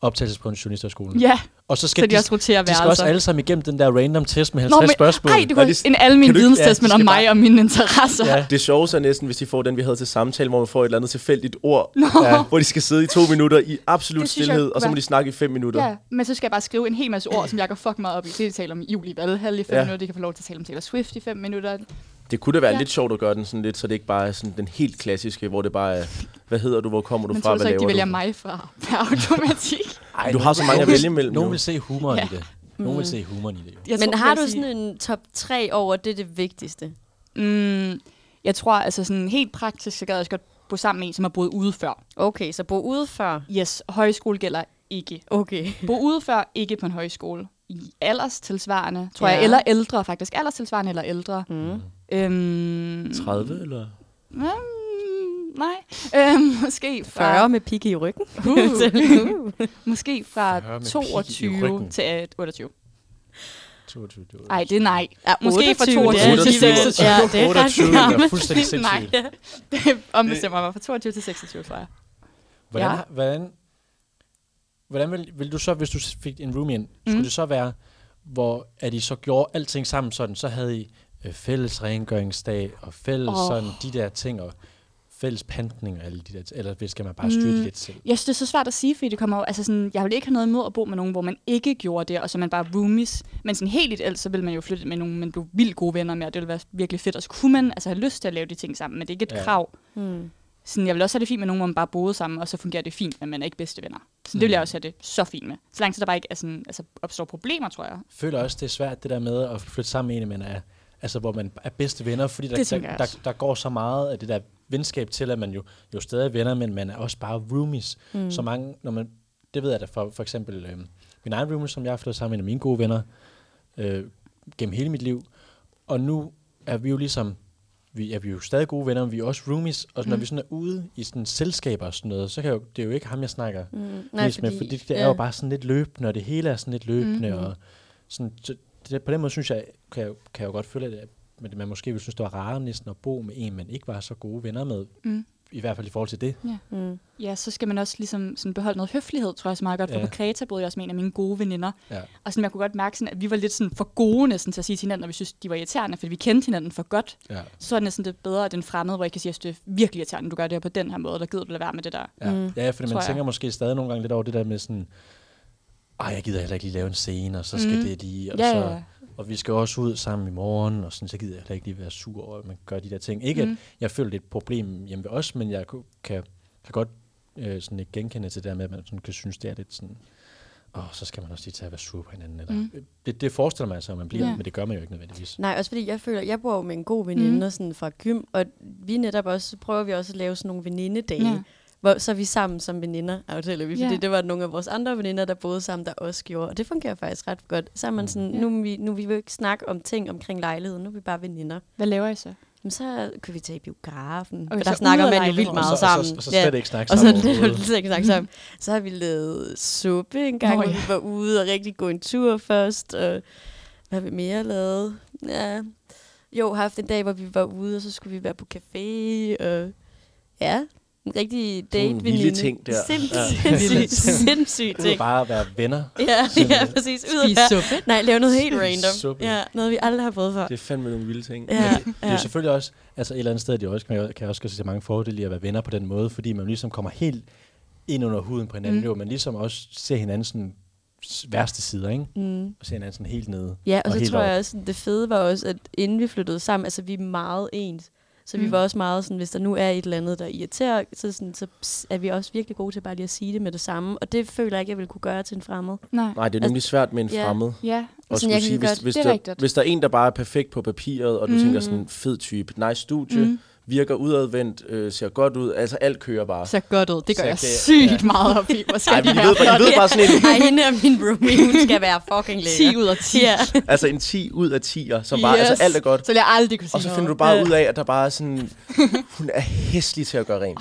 Speaker 4: optagelsesprøven i journalisterskolen.
Speaker 5: ja.
Speaker 4: Og så skal
Speaker 5: Så de også roterer
Speaker 4: de skal også
Speaker 5: værelser.
Speaker 4: alle sammen igennem den der random test med 50 spørgsmål.
Speaker 5: Ej, det kunne
Speaker 6: Og de-
Speaker 5: en almen
Speaker 6: kan du ikke-
Speaker 5: videnstest,
Speaker 4: ja, de
Speaker 5: men
Speaker 4: skal
Speaker 5: om mig
Speaker 4: bare-
Speaker 5: og mine interesser.
Speaker 4: Ja.
Speaker 5: Ja.
Speaker 6: Det sjove er næsten, hvis de får den, vi havde til samtale, hvor man får et eller andet tilfældigt ord, ja. hvor de skal sidde i to minutter i absolut
Speaker 5: Det synes jeg
Speaker 6: stillhed, og så må
Speaker 5: var-
Speaker 6: de snakke i fem minutter.
Speaker 5: ja, men så skal jeg bare skrive en hel masse ord, som jeg går fucking meget op i. Det de taler om jul i Valhall i fem
Speaker 6: Ja.
Speaker 5: ja. minutter, de kan få lov til at tale om Taylor Swift i fem minutter.
Speaker 6: Det kunne da være ja.
Speaker 5: Ja.
Speaker 6: lidt sjovt at gøre den sådan lidt, så det ikke bare er sådan den helt klassiske, hvor det bare er, hvad hedder du, hvor kommer du
Speaker 5: Men
Speaker 6: fra,
Speaker 5: tror
Speaker 6: hvad
Speaker 5: du så ikke, de
Speaker 6: laver
Speaker 5: vælger
Speaker 6: du?
Speaker 5: mig fra per automatik?
Speaker 6: Ej, du har så mange at vælge imellem.
Speaker 4: Nogen
Speaker 6: jo.
Speaker 4: vil se humoren
Speaker 5: Ja. Mm.
Speaker 4: i det. Nogen vil se humoren i det. Jo.
Speaker 5: Jeg
Speaker 3: Men
Speaker 5: tror,
Speaker 3: har
Speaker 5: jeg
Speaker 3: du
Speaker 5: vil
Speaker 3: sådan en top 3 over, det er det vigtigste?
Speaker 5: sige- Mm, jeg tror, altså sådan helt praktisk, så gad jeg også godt bo sammen med en, som har boet ude før.
Speaker 3: Okay, så bo ude før.
Speaker 5: Yes, højskole gælder ikke.
Speaker 3: Okay.
Speaker 5: Bo ude før, ikke på en højskole. I alderstilsvarende, tror
Speaker 3: Ja.
Speaker 5: ja. jeg, eller ældre faktisk. Alderstilsvarende eller ældre. Mm. Øhm,
Speaker 6: 30 eller?
Speaker 5: mm, nej, øhm, måske fra,
Speaker 3: 40 med pigge i ryggen.
Speaker 5: Uh. måske
Speaker 4: 40
Speaker 5: fra
Speaker 4: med pig i
Speaker 5: 22
Speaker 4: ryggen.
Speaker 5: til øh, 28.
Speaker 4: 22, det var-
Speaker 5: Nej, det er nej.
Speaker 3: Ja,
Speaker 5: Måske
Speaker 3: 28,
Speaker 5: fra 22
Speaker 3: det er
Speaker 5: til
Speaker 3: alligevel-
Speaker 5: 26.
Speaker 3: Ja, det er
Speaker 4: 28,
Speaker 3: ret
Speaker 4: det er
Speaker 3: gammelt.
Speaker 4: fuldstændig
Speaker 5: Nej,
Speaker 4: sindssygt.
Speaker 5: det ombestemmer mig fra 22 til 26, tror jeg.
Speaker 4: Hvordan,
Speaker 5: Ja.
Speaker 4: hvordan, hvordan vil, vil du så, hvis du fik en roomie ind, skulle
Speaker 5: Mm.
Speaker 4: det så være, hvor at I så gjorde alting sammen sådan, så havde I øh, fælles rengøringsdag, og fælles oh.
Speaker 5: Åh.
Speaker 4: sådan de der ting, og fælles pantning og alle de der ting, eller skal man bare styre mm.
Speaker 5: Mm.
Speaker 4: det lidt selv?
Speaker 5: Jeg synes, det er så svært at sige, fordi det kommer jo, altså sådan, jeg vil ikke have noget imod at bo med nogen, hvor man ikke gjorde det, og så man bare roomies. Men sådan helt ideelt, så vil man jo flytte med nogen, man blev vildt gode venner med, og det ville være virkelig fedt. Og så kunne man altså have lyst til at lave de ting sammen, men det er ikke et
Speaker 4: Ja.
Speaker 5: ja. krav. Hmm.
Speaker 3: Mm.
Speaker 5: Sådan, jeg vil også have det fint med nogen, hvor man bare boede sammen, og så fungerer det fint, men man er ikke bedste venner. Så det vil
Speaker 4: Hmm.
Speaker 5: jeg også have det så fint med. Så lang tid der bare ikke er sådan, altså, opstår problemer, tror jeg.
Speaker 4: føler også, det er svært, det der med at flytte sammen med en, man er, altså, hvor man er bedste venner, fordi der,
Speaker 5: Det tænker
Speaker 4: der,
Speaker 5: jeg
Speaker 4: der,
Speaker 5: også.
Speaker 4: der, går så meget af det der venskab til, at man jo, jo stadig er venner, men man er også bare roomies. Mm. Så mange, når man, det ved jeg da for, for eksempel, øh, min egen roomie, som jeg har flyttet sammen med, en af mine gode venner, øh, gennem hele mit liv, og nu er vi jo ligesom, vi er, vi er jo stadig gode venner, men vi er også roomies, og
Speaker 5: Mm.
Speaker 4: når vi sådan er ude i sådan selskaber og sådan noget, så kan jeg jo, det er jo ikke ham, jeg snakker mm, nej, mest fordi, med, fordi det er jo bare sådan lidt løbende, og det hele er sådan lidt løbende, mm-hmm. og sådan, så det, på den måde synes jeg, kan jeg, jo- kan jeg jo godt føle, at, at man måske ville synes, det var rarere næsten at bo med en, man ikke var så gode venner med, mm. i hvert fald i forhold til det.
Speaker 3: Mm.
Speaker 5: Ja, så skal man også ligesom sådan beholde noget høflighed, tror jeg også meget godt, for
Speaker 4: Ja.
Speaker 5: på Kreta boede jeg også med en af mine gode veninder,
Speaker 4: Ja.
Speaker 5: og sådan, jeg kunne godt mærke, sådan, at vi var lidt sådan for gode næsten til at sige til hinanden, og vi synes, de var irriterende, fordi vi kendte hinanden for godt.
Speaker 4: Ja.
Speaker 5: Så er det næsten lidt bedre, at den fremmede, hvor jeg kan sige, at det er virkelig irriterende, du gør det her på den her måde, der gider du lade være med det der.
Speaker 4: Ja, mm. ja fordi
Speaker 5: Tror
Speaker 4: man
Speaker 5: jeg.
Speaker 4: tænker måske stadig nogle gange lidt over det der med sådan, ej, jeg gider heller ikke lige lave en scene, og så skal
Speaker 5: Mm.
Speaker 4: mm. det lige, og,
Speaker 5: Ja,
Speaker 4: så,
Speaker 5: ja, ja.
Speaker 4: og vi skal også ud sammen i morgen, og sådan, så gider jeg heller ikke lige være sur over, at man gør de der ting. Ikke, mm. at
Speaker 5: Mm.
Speaker 4: jeg føler, det er et problem hjemme ved os, men jeg ku- kan, kan godt øh, sådan ikke genkende til det der med, at man sådan kan synes, det er lidt sådan, åh, så skal man også lige tage at være sur på hinanden. Eller, mm. det, det forestiller man sig, at man bliver,
Speaker 5: Ja.
Speaker 4: men det gør man jo ikke nødvendigvis.
Speaker 3: Nej, også fordi jeg føler, jeg bor jo med en god veninde
Speaker 5: Mm.
Speaker 3: mm. sådan fra gym, og vi netop også, prøver vi også at lave sådan nogle venindedage,
Speaker 5: Ja.
Speaker 3: ja. hvor så er vi sammen som veninder, aftaler vi, fordi
Speaker 5: Ja.
Speaker 3: ja. det var nogle af vores andre veninder, der boede sammen, der også gjorde, og det fungerer faktisk ret godt. Så er man sådan,
Speaker 5: Ja.
Speaker 3: nu, er vi, nu vil vi jo ikke snakke om ting omkring lejligheden, nu er vi bare veninder.
Speaker 5: Hvad laver I så?
Speaker 3: Men så kan vi tage i biografen,
Speaker 5: Okay,
Speaker 3: okay, og
Speaker 5: så
Speaker 3: der snakker
Speaker 5: ud af
Speaker 3: man jo vildt
Speaker 5: lejligheden.
Speaker 3: meget
Speaker 4: og, så,
Speaker 3: sammen.
Speaker 4: og, så, og så slet ja. ikke snakke
Speaker 3: Og så
Speaker 4: sammen
Speaker 3: lidt
Speaker 4: overhovedet.
Speaker 3: lidt ikke snakke sammen. Så har vi lavet suppe en gang,
Speaker 5: Nå,
Speaker 3: Nå, hvor
Speaker 5: ja.
Speaker 3: vi var ude og rigtig gå en tur først. Og hvad har vi mere lavet? Ja. Jo, haft en dag, hvor vi var ude, og så skulle vi være på café. Og ja, en rigtig date
Speaker 6: Sådan nogle vilde ting der.
Speaker 3: Sindssygt, sindssygt, sindssygt
Speaker 4: Ud og
Speaker 3: ting.
Speaker 4: bare at være venner.
Speaker 3: Ja, ja, præcis. Ud at
Speaker 5: Spise
Speaker 3: være.
Speaker 5: suppe?
Speaker 3: Nej, lave noget helt random.
Speaker 4: Suppe.
Speaker 3: Ja, noget vi aldrig har prøvet før.
Speaker 6: Det er fandme nogle vilde ting.
Speaker 3: Ja,
Speaker 4: Det er
Speaker 3: ja.
Speaker 4: jo selvfølgelig også, altså et eller andet sted, det er jo også, kan jeg kan jeg også se mange fordele i at være venner på den måde, fordi man ligesom kommer helt ind under huden på hinanden,
Speaker 5: Mm.
Speaker 4: mm. jo, man ligesom også ser hinanden sådan s- værste sider, ikke?
Speaker 3: Mm.
Speaker 4: Og ser hinanden sådan helt nede.
Speaker 3: Ja, og,
Speaker 4: Og
Speaker 3: og
Speaker 4: helt
Speaker 3: så tror
Speaker 4: op.
Speaker 3: jeg også, det fede var også, at inden vi flyttede sammen, altså vi er meget ens. Så vi
Speaker 5: Mm.
Speaker 3: var også meget sådan, hvis der nu er et eller andet, der irriterer, så, sådan, så s- er vi også virkelig gode til bare lige at sige det med det samme. Og det føler jeg ikke, jeg ville kunne gøre til en fremmed.
Speaker 5: Nej.
Speaker 6: Nej, det er nemlig svært med en
Speaker 3: Ja.
Speaker 6: fremmed.
Speaker 5: Ja,
Speaker 6: Og
Speaker 3: Sådan, jeg
Speaker 6: skulle
Speaker 3: kan
Speaker 6: sige, hvis,
Speaker 3: godt-
Speaker 6: hvis,
Speaker 5: det er
Speaker 6: der,
Speaker 5: rigtigt.
Speaker 6: hvis der er en, der bare er perfekt på papiret, og du mm. tænker sådan, fed type, nice studie, mm.
Speaker 5: Mm.
Speaker 6: virker udadvendt, øh, ser godt ud, altså alt kører bare.
Speaker 5: så godt ud. Det gør
Speaker 6: Så
Speaker 5: jeg
Speaker 6: det-
Speaker 5: sygt meget op i. Hvor
Speaker 6: Ej,
Speaker 5: skal
Speaker 6: vi
Speaker 5: de
Speaker 6: ved,
Speaker 5: være
Speaker 6: bare, I ved bare sådan en,
Speaker 3: Ej, hende er min roomie, hun skal være fucking lækker.
Speaker 5: 10 ud af 10.
Speaker 3: Ja.
Speaker 6: altså en 10 ud af 10'er, som bare, yes. altså alt er godt.
Speaker 5: Så vil jeg aldrig kunne sige
Speaker 6: Og så finder
Speaker 5: noget.
Speaker 6: du bare
Speaker 5: Ja.
Speaker 6: ud af, at der bare er sådan, hun er hæslig til at gøre rent.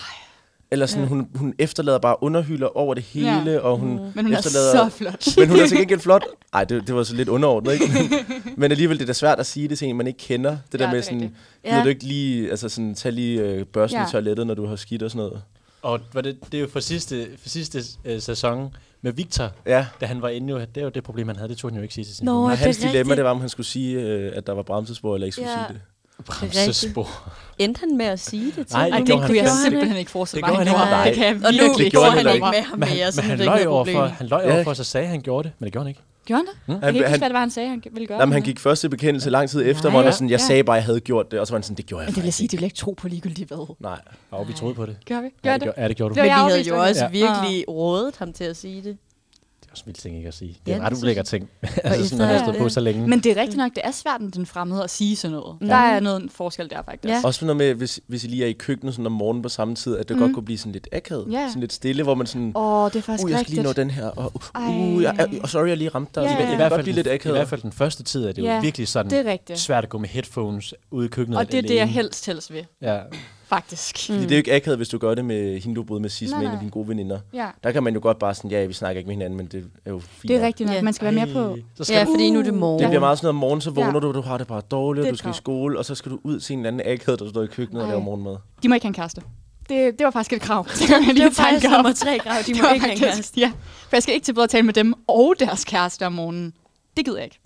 Speaker 6: Eller sådan, hun, hun efterlader bare underhylder over det
Speaker 5: Ja. Mm.
Speaker 6: hele, og hun
Speaker 5: Men hun er
Speaker 6: efterlader...
Speaker 5: så flot.
Speaker 6: Men hun er til gengæld flot. Nej, det, det var så lidt underordnet, ikke? Men, men alligevel, det er da svært at sige det til en, man ikke kender. Det der
Speaker 5: Ja, det
Speaker 6: med
Speaker 5: er
Speaker 6: sådan,
Speaker 5: rigtigt.
Speaker 6: ja. ved du ikke lige, altså sådan, tag lige øh, børsten
Speaker 5: Ja.
Speaker 6: i toilettet, når du har skidt og sådan noget.
Speaker 4: Og var det, det er jo fra sidste, fra sidste øh, sæson med Victor,
Speaker 6: Ja.
Speaker 4: da han var inde jo, det er jo det problem, han havde, det tog han jo ikke sige til sin
Speaker 3: Nå,
Speaker 4: familie.
Speaker 6: Og
Speaker 3: det er
Speaker 6: hans dilemma,
Speaker 3: rigtigt.
Speaker 6: det var, om han skulle sige, øh, at der var bremsespor, eller ikke skulle
Speaker 3: Ja.
Speaker 6: sige det.
Speaker 4: Bremse spor.
Speaker 3: Endte han med at sige det til
Speaker 4: Nej,
Speaker 3: mig?
Speaker 5: Ej,
Speaker 4: det
Speaker 5: det
Speaker 4: gjorde
Speaker 5: kunne jeg
Speaker 3: han
Speaker 5: simpelthen
Speaker 3: ikke.
Speaker 5: ikke forestille
Speaker 4: Det
Speaker 5: mig.
Speaker 4: gjorde
Speaker 5: han
Speaker 4: han
Speaker 5: gjorde.
Speaker 4: ikke.
Speaker 5: Det kan jeg
Speaker 3: Og nu
Speaker 5: virkelig
Speaker 6: det gjorde
Speaker 3: går han
Speaker 6: heller
Speaker 3: ikke med ham
Speaker 4: Men
Speaker 3: mere,
Speaker 4: han,
Speaker 3: så
Speaker 4: men
Speaker 3: det er
Speaker 4: han
Speaker 3: ikke
Speaker 4: løj
Speaker 3: noget
Speaker 4: over for,
Speaker 3: problem.
Speaker 4: han løj
Speaker 6: Ja.
Speaker 4: over for, så sagde han gjorde det, men det gjorde han ikke.
Speaker 5: Gjorde han det? Jeg
Speaker 6: Han,
Speaker 5: kan ikke
Speaker 6: han,
Speaker 5: huske, hvad det var, han sagde, han ville gøre.
Speaker 6: nej, men han gik først i bekendelse lang tid efter,
Speaker 5: Nej.
Speaker 6: hvor han var sådan, jeg
Speaker 5: Ja.
Speaker 6: sagde bare, at jeg havde gjort det, og så var han sådan, det gjorde jeg
Speaker 5: Men det vil jeg
Speaker 6: faktisk
Speaker 5: sige,
Speaker 6: ikke.
Speaker 5: det ville jeg ikke tro på ligegyldigt hvad.
Speaker 6: Nej.
Speaker 4: Og vi troede på det.
Speaker 5: Gør vi?
Speaker 4: ja,
Speaker 5: Gør
Speaker 4: det,
Speaker 5: det?
Speaker 4: gjorde- ja, det gjorde du.
Speaker 5: Det var
Speaker 3: Men vi
Speaker 5: jeg
Speaker 3: havde
Speaker 5: overbevist
Speaker 3: jo
Speaker 5: om.
Speaker 3: også
Speaker 4: Ja.
Speaker 3: virkelig rådet ham til at sige det.
Speaker 4: Det er også en vild ting ikke at sige. Det
Speaker 3: Ja,
Speaker 4: er en ret
Speaker 3: det synes
Speaker 4: ulækker
Speaker 3: jeg.
Speaker 4: ting. altså sådan,
Speaker 3: efter-
Speaker 4: når man har stået
Speaker 5: Ja,
Speaker 4: på
Speaker 5: ja.
Speaker 4: så længe.
Speaker 6: Mm.
Speaker 5: Men det er rigtigt nok, det er svært med den fremmede at sige sådan noget. Der er noget forskel der faktisk.
Speaker 3: Ja.
Speaker 6: Også sådan noget med, hvis, hvis I lige er i køkkenet sådan om morgenen på samme tid, at det mm. godt kunne blive sådan lidt akavet.
Speaker 5: Ja.
Speaker 6: Sådan lidt stille, hvor man sådan,
Speaker 5: Åh, oh, det er faktisk
Speaker 6: uh, jeg skal lige nå
Speaker 5: rigtigt.
Speaker 6: den her, og
Speaker 5: Ej.
Speaker 6: uh, uh, jeg, uh, sorry, jeg lige ramte dig.
Speaker 5: Ja,
Speaker 6: Ja,
Speaker 5: ja,
Speaker 6: ja,
Speaker 5: ja.
Speaker 6: ja. Det
Speaker 4: I
Speaker 6: kan
Speaker 4: hvert,
Speaker 6: godt
Speaker 4: fald,
Speaker 6: blive lidt
Speaker 4: i
Speaker 6: akavet.
Speaker 4: hvert fald den første tid er det jo
Speaker 5: Ja,
Speaker 4: virkelig sådan
Speaker 5: det er rigtigt.
Speaker 4: svært at gå med headphones ude i køkkenet
Speaker 5: Og det er
Speaker 4: alene.
Speaker 5: det, jeg helst helst vil,
Speaker 4: Ja.
Speaker 5: faktisk.
Speaker 6: Fordi det er jo ikke akavet, hvis du gør det med hende, du boede med sidst,
Speaker 5: Nej,
Speaker 6: med en af
Speaker 5: nej.
Speaker 6: dine gode veninder.
Speaker 5: Ja,
Speaker 6: Der kan man jo godt bare sådan, ja, vi snakker ikke med hinanden, men det er jo fint.
Speaker 5: det er
Speaker 6: nok.
Speaker 5: rigtigt nok.
Speaker 3: Ja.
Speaker 5: Man skal være mere på.
Speaker 4: Ej, Så skal
Speaker 3: Ja,
Speaker 4: ja,
Speaker 3: fordi nu er det morgen.
Speaker 6: Det bliver meget sådan noget om morgenen, så vågner
Speaker 5: Ja.
Speaker 6: ja. du, og du har det bare dårligt,
Speaker 5: Det
Speaker 6: og
Speaker 5: er
Speaker 6: du skal i
Speaker 5: travlt.
Speaker 6: skole, og så skal du ud til en eller anden akavet, der står i køkkenet og
Speaker 5: Ej.
Speaker 6: laver morgenmad.
Speaker 5: De må ikke have en kæreste. Det, det var faktisk et krav. Det kan jeg
Speaker 3: Det
Speaker 5: lige
Speaker 3: var faktisk
Speaker 5: tanke om.
Speaker 3: nummer tre grav, de
Speaker 5: Det
Speaker 3: må
Speaker 5: var
Speaker 3: ikke hænge
Speaker 5: faktisk-
Speaker 3: fast.
Speaker 5: Ja, for jeg skal ikke til både at tale med dem og deres kæreste om morgenen. Det gider jeg ikke.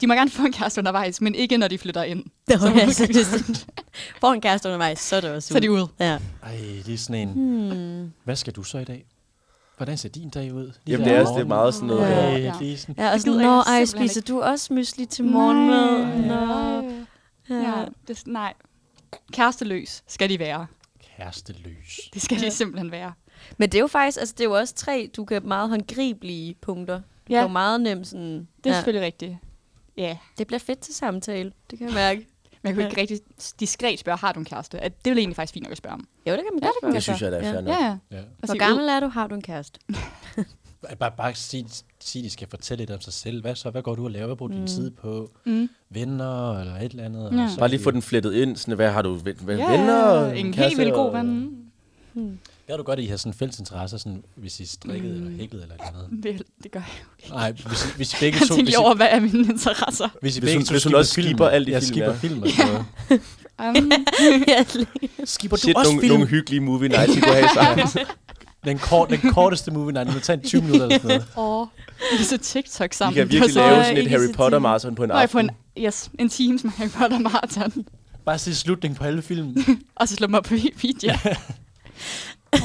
Speaker 5: De må gerne få en kæreste undervejs, men ikke når de flytter ind.
Speaker 3: Det var altså, det er sådan- Får en kæreste undervejs, så er det også
Speaker 5: Så er de ude.
Speaker 3: Ja.
Speaker 4: Ej, det er sådan en... Hmm. Hvad skal du så i dag? Hvordan ser din dag ud? Lige
Speaker 6: Jamen, det
Speaker 4: der om
Speaker 6: er, også- det er
Speaker 4: morgenen.
Speaker 6: meget sådan noget.
Speaker 5: Ja.
Speaker 6: Ja.
Speaker 4: Ej, lige sådan...
Speaker 3: Ja, og
Speaker 5: Det
Speaker 3: sådan,
Speaker 5: gider jeg
Speaker 3: når ej,
Speaker 5: simpelthen
Speaker 3: spiser du også mysli til morgenmad? Nå.
Speaker 5: Ja, det, nej. Kæresteløs skal de være.
Speaker 4: Kæresteløs.
Speaker 5: Det skal de simpelthen være.
Speaker 3: Men det er jo faktisk, altså det er jo også tre, du kan meget håndgribelige punkter. Ja. Det er jo meget nemt sådan,
Speaker 5: det er
Speaker 3: ja.
Speaker 5: selvfølgelig rigtigt. Ja,
Speaker 3: det bliver fedt til samtale, det kan jeg mærke.
Speaker 5: men jeg kunne ikke rigtig diskret spørge, har du en kæreste? At Det ville egentlig faktisk fint nok at spørge om.
Speaker 3: Jo, det kan man godt spørge.
Speaker 6: Det synes jeg, der er
Speaker 3: Ja.
Speaker 6: fair nok.
Speaker 5: Ja, ja.
Speaker 4: Ja.
Speaker 5: Og sige,
Speaker 3: Altså, Hvor gammel er du? Har du en kæreste?
Speaker 4: Bare, bare sig, sig, de skal fortælle lidt om sig selv. Hvad så? Hvad går du og laver? Hvad bruger du din tid på?
Speaker 5: Hmm. Mm.
Speaker 4: Venner eller et eller andet? Altså, og
Speaker 5: Ja.
Speaker 4: så-
Speaker 6: Bare lige få den flettet ind, sådan, hvad har du, hvad,
Speaker 5: "Ud."
Speaker 6: ja, venner?
Speaker 5: en helt
Speaker 6: kæreste,
Speaker 5: vildt god
Speaker 6: og-
Speaker 5: ven.
Speaker 4: Det er du godt, at I har sådan fælles interesser, sådan, hvis I strikkede mm. eller hæklede eller et eller andet.
Speaker 5: Det, det gør jeg.
Speaker 4: Nej, hvis, I- hvis I begge
Speaker 5: Jeg
Speaker 4: to...
Speaker 5: tænkte
Speaker 4: hvis I-
Speaker 5: lige over, hvad er mine interesser?
Speaker 4: Hvis, I
Speaker 6: Hvis
Speaker 4: begge
Speaker 6: hun-
Speaker 4: to
Speaker 6: hvis hun
Speaker 4: skipper
Speaker 6: også
Speaker 4: film,
Speaker 6: skipper alt i
Speaker 4: jeg
Speaker 6: film,
Speaker 4: skipper
Speaker 6: ja.
Speaker 4: film og sådan noget.
Speaker 5: Um,
Speaker 3: ja,
Speaker 4: Skipper
Speaker 6: Shit, nogle, nogle hyggelige movie nights, vi kunne have sammen.
Speaker 4: Den, kort, den korteste movie night. Den vil tage en 20 minutter eller sådan noget.
Speaker 5: og vi så TikTok
Speaker 6: Vi
Speaker 5: sammen.
Speaker 6: kan
Speaker 5: Det var
Speaker 6: virkelig
Speaker 5: så
Speaker 6: lave sådan
Speaker 5: ikke
Speaker 6: et
Speaker 5: så
Speaker 6: Harry
Speaker 5: tit.
Speaker 6: Potter-marathon på en
Speaker 5: Nej, på
Speaker 6: aften.
Speaker 5: en, yes, en times med Harry Potter Marathon.
Speaker 4: Bare se slutningen på alle filmen.
Speaker 5: Og så slå mig på video.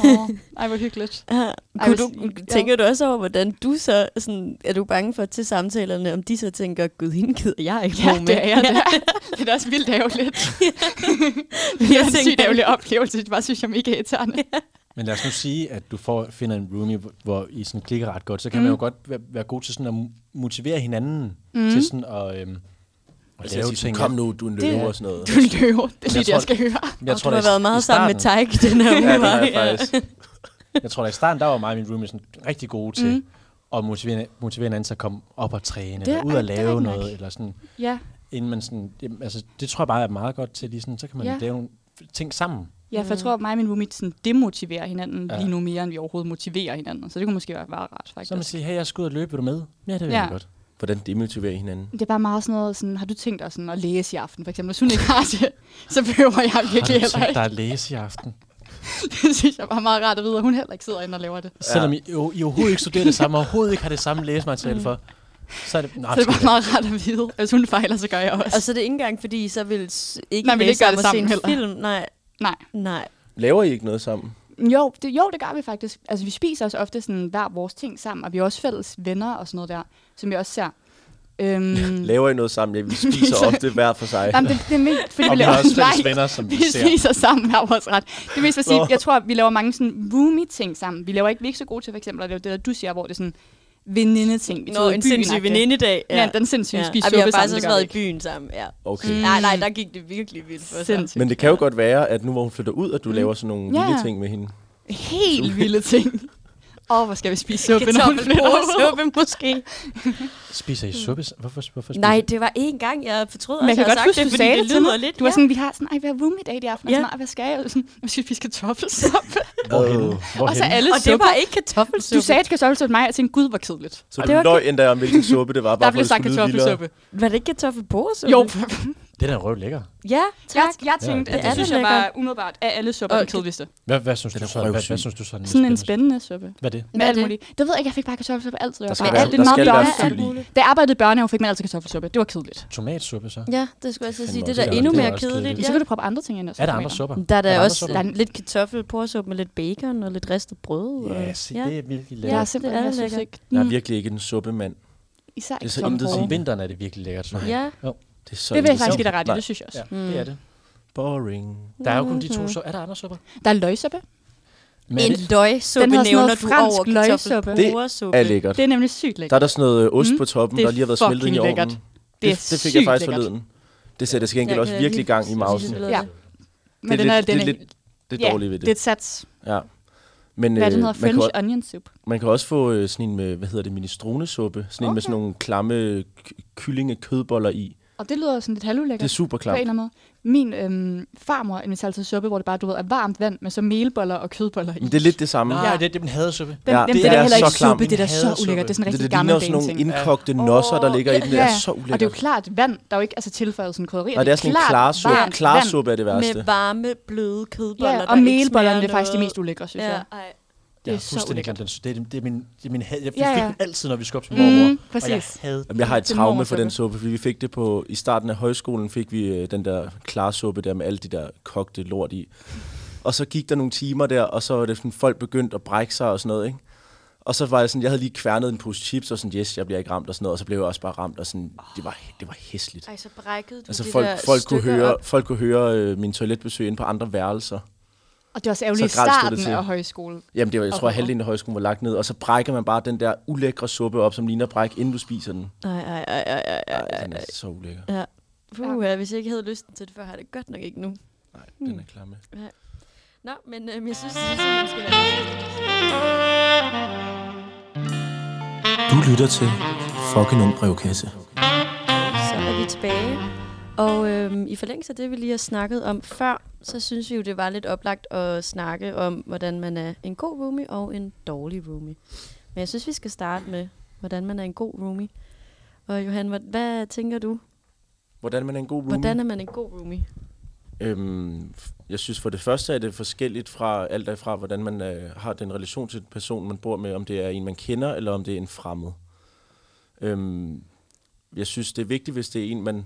Speaker 5: Åh, ej, hvor hyggeligt. Ej,
Speaker 3: Kunne
Speaker 5: hvis-
Speaker 3: du,
Speaker 5: ja.
Speaker 3: tænker du også over, hvordan du så, sådan, er du bange for til samtalerne, om de så tænker, gud, hende gider jeg ikke
Speaker 5: Ja,
Speaker 3: bo med.
Speaker 5: det er jeg. Det er, det er også vildt ærgerligt. det er
Speaker 3: Jeg
Speaker 5: en sygt
Speaker 3: tænker-
Speaker 5: ærgerlig oplevelse. Det bare synes jeg er mega irriterende.
Speaker 4: Men lad os nu sige, at du får, finder en roomie, hvor- hvor I sådan klikker ret godt. Så kan
Speaker 5: Mm.
Speaker 4: mm. man jo godt være, være god til sådan at mo- motivere hinanden mm. til sådan at, øhm, at
Speaker 6: Altså, jeg siger,
Speaker 4: lave
Speaker 6: sådan,
Speaker 4: ting.
Speaker 6: kom nu, du er en løve
Speaker 4: Det-
Speaker 6: og sådan noget.
Speaker 5: Du er en løve. Det er lige det, jeg
Speaker 4: tror-
Speaker 5: skal høre.
Speaker 4: Men Jeg
Speaker 3: og du har
Speaker 4: da i-
Speaker 3: været
Speaker 4: i
Speaker 3: meget sammen med
Speaker 4: starten-
Speaker 3: Tyke den her uge.
Speaker 6: Ja, det har jeg
Speaker 3: hva'?
Speaker 6: faktisk.
Speaker 4: Jeg tror da i starten, der var mig og min roomie sådan rigtig gode til mm. at motivere, motivere hinanden til at komme op og træne,
Speaker 5: Det er-
Speaker 4: eller ud
Speaker 5: ej,
Speaker 4: og
Speaker 5: det er
Speaker 4: lave
Speaker 5: rigtig nok.
Speaker 4: noget, eller sådan,
Speaker 5: Ja,
Speaker 4: inden man sådan, jamen, altså, det tror jeg bare er meget godt til, lige sådan, så kan man
Speaker 5: Ja.
Speaker 4: ja. lave nogle ting sammen.
Speaker 5: ja for jeg tror, at mig og min roommate sådan, demotiverer hinanden ja.
Speaker 4: Ja.
Speaker 5: lige nu mere, end vi overhovedet motiverer hinanden. Så det kunne måske være, være rart,
Speaker 4: Så man
Speaker 5: faktisk.
Speaker 4: siger, hey, jeg skal ud og løbe, vil du med? Ja, det vil
Speaker 5: Ja.
Speaker 4: ja. jeg godt.
Speaker 6: Hvordan demotiverer I hinanden?
Speaker 5: Det er bare meget sådan noget, sådan, har du tænkt dig sådan at læse i aften, for eksempel? Hvis hun ikke har det, så behøver jeg
Speaker 4: Har
Speaker 5: virkelig
Speaker 4: du
Speaker 5: heller
Speaker 4: tænkt dig
Speaker 5: ikke.
Speaker 4: at læse i aften?
Speaker 5: Det synes jeg bare er meget rart at vide, at hun heller ikke sidder inde og laver det.
Speaker 4: Selvom I, jo, I overhovedet ikke studerer det samme, og overhovedet ikke har det samme læsemateriale for, så er det... Nå,
Speaker 5: Mm. Så det er bare meget rart at vide. Hvis hun fejler, så gør jeg også.
Speaker 3: Og så er det ikke engang, fordi I så vil s- ikke
Speaker 5: Nej, vi vil
Speaker 3: læse
Speaker 5: ikke gøre det
Speaker 3: sammen og se
Speaker 5: sammen
Speaker 3: en film. Nej,
Speaker 5: Nej.
Speaker 3: nej.
Speaker 6: Laver I ikke noget sammen?
Speaker 5: Jo det, jo, det gør vi faktisk. Altså, vi spiser også ofte sådan hver vores ting sammen, og vi er også fælles venner og sådan noget der, som jeg også ser. Øhm,
Speaker 6: Laver I noget sammen? Ja, vi spiser ofte hver for sig.
Speaker 5: Jamen, det, det er mest, fordi
Speaker 4: Og
Speaker 5: vi
Speaker 4: vi har
Speaker 5: laver
Speaker 4: også fælles
Speaker 5: Nej,
Speaker 4: venner, som vi
Speaker 5: vi
Speaker 4: ser.
Speaker 5: spiser sammen hver vores ret. Det er mest for at sige,
Speaker 6: Nå.
Speaker 5: jeg tror, vi laver mange sådan roomie-ting sammen. Vi laver ikke, vi er ikke så gode til for eksempel at lave det, der du siger, hvor det er sådan veninde-ting. Vi tager
Speaker 3: Nå,
Speaker 5: ud i
Speaker 3: en
Speaker 5: byen,
Speaker 3: sindssyg
Speaker 5: agtigt.
Speaker 3: venindedag.
Speaker 5: Ja, den sindssyge ja.
Speaker 3: Ja.
Speaker 5: spise
Speaker 3: Ej,
Speaker 5: suppe
Speaker 3: vi har
Speaker 5: sammen,
Speaker 3: faktisk
Speaker 5: det
Speaker 3: også
Speaker 5: gør vi
Speaker 3: været i
Speaker 5: ikke.
Speaker 3: byen sammen, ja.
Speaker 6: Okay.
Speaker 3: Nej, nej, der gik det virkelig vildt for sig.
Speaker 5: Sindssygt.
Speaker 6: Men det kan jo godt være, at nu hvor hun flytter ud, at du laver sådan nogle
Speaker 5: Mm. Ja.
Speaker 6: vilde ting med hende.
Speaker 5: Helt vilde ting. Åh, oh, hvor skal vi spise suppe, når hun flytter ud?
Speaker 3: Kartoffelbrødsuppe måske.
Speaker 4: Spiser I
Speaker 5: Mm.
Speaker 4: suppe? s- Hvorfor, hvorfor spiser
Speaker 3: Nej, det var én gang, jeg fortrød
Speaker 5: Men
Speaker 3: også,
Speaker 5: jeg
Speaker 3: jeg
Speaker 5: kan
Speaker 3: har
Speaker 5: godt
Speaker 3: sagt
Speaker 5: huske,
Speaker 3: det,
Speaker 5: du
Speaker 3: fordi
Speaker 5: sagde
Speaker 3: det
Speaker 5: det til mig.
Speaker 3: lyder lidt.
Speaker 5: Du var sådan, vi har sådan, ej, vi har roommate i i aften. Ja. Og
Speaker 3: Ja.
Speaker 5: sådan, "Ej, hvad skal jeg? Og Sådan, jeg skal spise kartoffelsuppe.
Speaker 4: Hvorhenne?
Speaker 6: Øh.
Speaker 5: og så
Speaker 4: Hvorhenne?
Speaker 5: alle
Speaker 3: ja. Og det
Speaker 5: supper.
Speaker 3: var ikke kartoffelsuppe.
Speaker 5: Du sagde, at kartoffelsuppe til mig, og jeg tænkte, gud, hvor kedeligt.
Speaker 6: Så
Speaker 5: Ej,
Speaker 6: du
Speaker 5: det var-
Speaker 6: løg endda om, hvilken suppe det var,
Speaker 5: Der
Speaker 6: bare for
Speaker 5: blev
Speaker 6: at det
Speaker 5: sagt
Speaker 6: skulle lyde vildere.
Speaker 5: kartoffelsuppe.
Speaker 3: Var det ikke kartoffelbrødsuppe?
Speaker 5: Jo,
Speaker 4: Det er da røv lækker.
Speaker 3: Ja,
Speaker 5: jeg,
Speaker 3: tak.
Speaker 5: jeg tænkte,
Speaker 4: Ja, det
Speaker 5: at det
Speaker 4: er
Speaker 5: synes
Speaker 3: det
Speaker 5: jeg
Speaker 3: lækkert.
Speaker 5: var umiddelbart af alle supper,
Speaker 3: Og-
Speaker 5: den kedeligste.
Speaker 4: Hvad, hvad, synes,
Speaker 6: Den
Speaker 4: du
Speaker 6: er
Speaker 4: så, hvad,
Speaker 6: røvsyg.
Speaker 4: hvad synes du så er den
Speaker 5: Sådan en
Speaker 4: spændende?
Speaker 5: spændende suppe.
Speaker 4: Hvad er det?
Speaker 5: Med alt
Speaker 3: det?
Speaker 5: muligt. Det ved jeg ikke, jeg fik bare kartoffelsuppe altid.
Speaker 6: Der
Speaker 5: Jeg var
Speaker 6: skal
Speaker 5: bare
Speaker 6: være,
Speaker 5: alt det
Speaker 6: der
Speaker 5: meget
Speaker 6: skal være
Speaker 5: børne.
Speaker 6: fyld i.
Speaker 5: Da jeg arbejdede i børnehave, fik man altid kartoffelsuppe. Det var kedeligt.
Speaker 4: Tomatsuppe så?
Speaker 3: Ja, det skulle jeg så sige.
Speaker 6: Fandme
Speaker 3: Det
Speaker 6: også
Speaker 3: der
Speaker 6: kedeligt.
Speaker 3: endnu
Speaker 6: Det er
Speaker 3: mere
Speaker 4: også
Speaker 3: kedeligt.
Speaker 4: kedeligt.
Speaker 5: Så
Speaker 3: Ja.
Speaker 5: kan du proppe andre ting ind også.
Speaker 4: Er der andre
Speaker 5: tomater.
Speaker 4: supper?
Speaker 3: Der er da
Speaker 4: andre
Speaker 3: også
Speaker 4: supper?
Speaker 3: der er lidt kartoffelbrødsuppe med lidt bacon og lidt ristet brød. og-
Speaker 4: Ja, se,
Speaker 3: ja.
Speaker 4: det er virkelig
Speaker 5: Jeg er
Speaker 4: lækkert.
Speaker 5: simpelthen,
Speaker 3: det er
Speaker 5: jeg synes
Speaker 3: lækkert.
Speaker 5: ikke.
Speaker 6: Jeg er
Speaker 5: Mm,
Speaker 6: virkelig ikke en suppemand.
Speaker 5: Især
Speaker 6: det
Speaker 5: ikke
Speaker 6: er så
Speaker 5: som
Speaker 6: intet
Speaker 5: hårde.
Speaker 4: Om vinteren er det virkelig lækkert, synes jeg.
Speaker 3: Ja.
Speaker 6: Det, er så
Speaker 5: Det vil jeg
Speaker 6: interessant.
Speaker 5: faktisk give dig ret i,
Speaker 6: Nej.
Speaker 5: det synes jeg også.
Speaker 4: Ja, det er det.
Speaker 6: Boring.
Speaker 4: Der er jo kun de
Speaker 5: Mhm.
Speaker 4: to supper. Er der andre supper?
Speaker 5: Der er løgsuppe.
Speaker 4: Men er
Speaker 3: En
Speaker 4: det-
Speaker 3: løgsuppe
Speaker 5: Den hedder sådan
Speaker 3: nævner
Speaker 5: noget
Speaker 3: du
Speaker 5: fransk
Speaker 3: over
Speaker 5: løgsuppe.
Speaker 3: kartoffelbrødsuppe.
Speaker 6: Er lækkert.
Speaker 5: Det er nemlig sygt
Speaker 6: Der
Speaker 5: lækkert.
Speaker 6: er der sådan noget øh, ost
Speaker 5: Mm,
Speaker 6: på toppen,
Speaker 5: det er
Speaker 6: der lige har været smeltet ind i
Speaker 5: fucking
Speaker 6: ovnen.
Speaker 5: lækkert.
Speaker 6: Det,
Speaker 5: er
Speaker 6: det fik jeg
Speaker 5: sygt
Speaker 6: faktisk
Speaker 5: lækkert.
Speaker 6: forleden. Det sætter til gengæld
Speaker 3: Jeg
Speaker 6: også
Speaker 3: kan
Speaker 6: virkelig gang i
Speaker 3: lige-
Speaker 6: mausen.
Speaker 3: synes,
Speaker 6: Det
Speaker 3: det
Speaker 5: Ja.
Speaker 3: lyder-
Speaker 5: Men
Speaker 6: er
Speaker 5: den er,
Speaker 6: lidt,
Speaker 5: den
Speaker 6: det
Speaker 5: er
Speaker 6: er lidt det er
Speaker 5: Ja,
Speaker 6: dårligt ved
Speaker 5: det er
Speaker 6: det.
Speaker 5: et sats.
Speaker 6: Ja. Men,
Speaker 5: Hvad er
Speaker 6: øh,
Speaker 5: det, den hedder?
Speaker 6: man, kan,
Speaker 5: French
Speaker 6: o-
Speaker 5: onion soup.
Speaker 6: man kan også få øh, sådan en med, hvad hedder det, minestronesuppe. Sådan en med sådan nogle klamme k- kyllingekødboller i.
Speaker 5: Og det lyder sådan lidt
Speaker 6: Det er
Speaker 5: halvulækkert.
Speaker 6: super
Speaker 5: på en
Speaker 6: klamt.
Speaker 5: eller anden måde. Min øhm, farmor inviterer altid suppe, hvor det bare du ved, er varmt vand med så melboller og kødboller i.
Speaker 6: Men det er lidt det samme.
Speaker 4: Nej, det, det er en hadesuppe.
Speaker 5: den,
Speaker 6: Ja,
Speaker 5: den,
Speaker 6: det
Speaker 5: det, det
Speaker 6: er
Speaker 5: er heller
Speaker 6: så
Speaker 5: ikke
Speaker 6: klamt.
Speaker 5: suppe, det er da så
Speaker 4: Hadesuppe.
Speaker 5: ulækkert. Det er sådan en
Speaker 6: Det,
Speaker 5: rigtig
Speaker 6: det
Speaker 5: gammel
Speaker 6: ligner
Speaker 5: ting.
Speaker 6: sådan nogle indkogte nosser, der ligger i den. Det er så ulækkert.
Speaker 5: Og det er jo klart vand, der er jo ikke altså tilføjet sådan krydderier.
Speaker 6: Nej, det er sådan en
Speaker 5: klart
Speaker 6: klarsuppe.
Speaker 5: varmt
Speaker 6: Klarsuppe er det værste.
Speaker 3: Med varme, bløde kødboller,
Speaker 5: vand. Ja, og
Speaker 3: der ikke
Speaker 5: melbollerne det
Speaker 3: smager
Speaker 5: er faktisk det
Speaker 3: noget.
Speaker 5: mest ulækre, synes
Speaker 3: Ja,
Speaker 5: jeg.
Speaker 3: ej.
Speaker 5: Det
Speaker 4: Jeg
Speaker 5: er
Speaker 4: har
Speaker 5: så
Speaker 4: fuldstændig
Speaker 5: ulækkert.
Speaker 4: glemt den. suppe. Det er, det er min, det er min had. Jeg fik
Speaker 5: Ja, ja.
Speaker 4: den altid, når vi skulle op til
Speaker 5: Mm,
Speaker 4: mormor. og jeg
Speaker 5: præcis.
Speaker 4: havde
Speaker 6: Jamen, jeg har et
Speaker 5: Den
Speaker 6: traume for
Speaker 5: morgensuppe.
Speaker 6: den suppe, fordi vi fik det på, i starten af højskolen fik vi øh, den der klarsuppe der med alle de der kogte lort i. Og så gik der nogle timer der, og så var det sådan, folk begyndte at brække sig og sådan noget, ikke? Og så var jeg sådan, jeg havde lige kværnet en pose chips, og sådan, yes, jeg bliver ikke ramt og sådan noget, og så blev jeg også bare ramt, og sådan, det var, det var hæsligt.
Speaker 3: Ej, så brækkede du
Speaker 6: Altså
Speaker 3: de
Speaker 6: folk,
Speaker 3: der
Speaker 6: folk, kunne
Speaker 3: stykker
Speaker 6: høre,
Speaker 3: op.
Speaker 6: folk kunne høre øh, min toiletbesøg inde på andre værelser.
Speaker 5: Og det er også ærgerligt i
Speaker 6: Så grelt stod det
Speaker 5: starten
Speaker 6: til.
Speaker 5: af højskole.
Speaker 6: Jamen, det var, jeg tror, at
Speaker 5: Åh.
Speaker 6: halvdelen af højskolen var lagt ned, og så brækker man bare den der ulækre suppe op, som ligner bræk, inden du spiser den.
Speaker 3: Ej, ej, ej, ej, ej, ej.
Speaker 6: Ej, den er så ulækker.
Speaker 3: Puh, ja, hvis jeg ikke havde lyst til det før, har jeg det godt nok ikke nu.
Speaker 6: Nej, den er klamme.
Speaker 3: Nå, men øhm, jeg synes, det er sådan, skal være.
Speaker 2: Du lytter til Fucking Ung Brevkasse.
Speaker 3: Så er vi tilbage. Og øhm, i forlængelse af det, vi lige har snakket om før, så synes vi jo, det var lidt oplagt at snakke om, hvordan man er en god roomie og en dårlig roomie. Men jeg synes, vi skal starte med, hvordan man er en god roomie. Og Johan, hvad, hvad tænker du?
Speaker 6: Hvordan man er en god roomie?
Speaker 3: Hvordan er man en god roomie?
Speaker 6: Øhm, f- jeg synes for det første er det forskelligt fra alt af fra, hvordan man øh, har den relation til den person, man bor med, om det er en, man kender, eller om det er en fremmed. Øhm, jeg synes, det er vigtigt, hvis det er en, man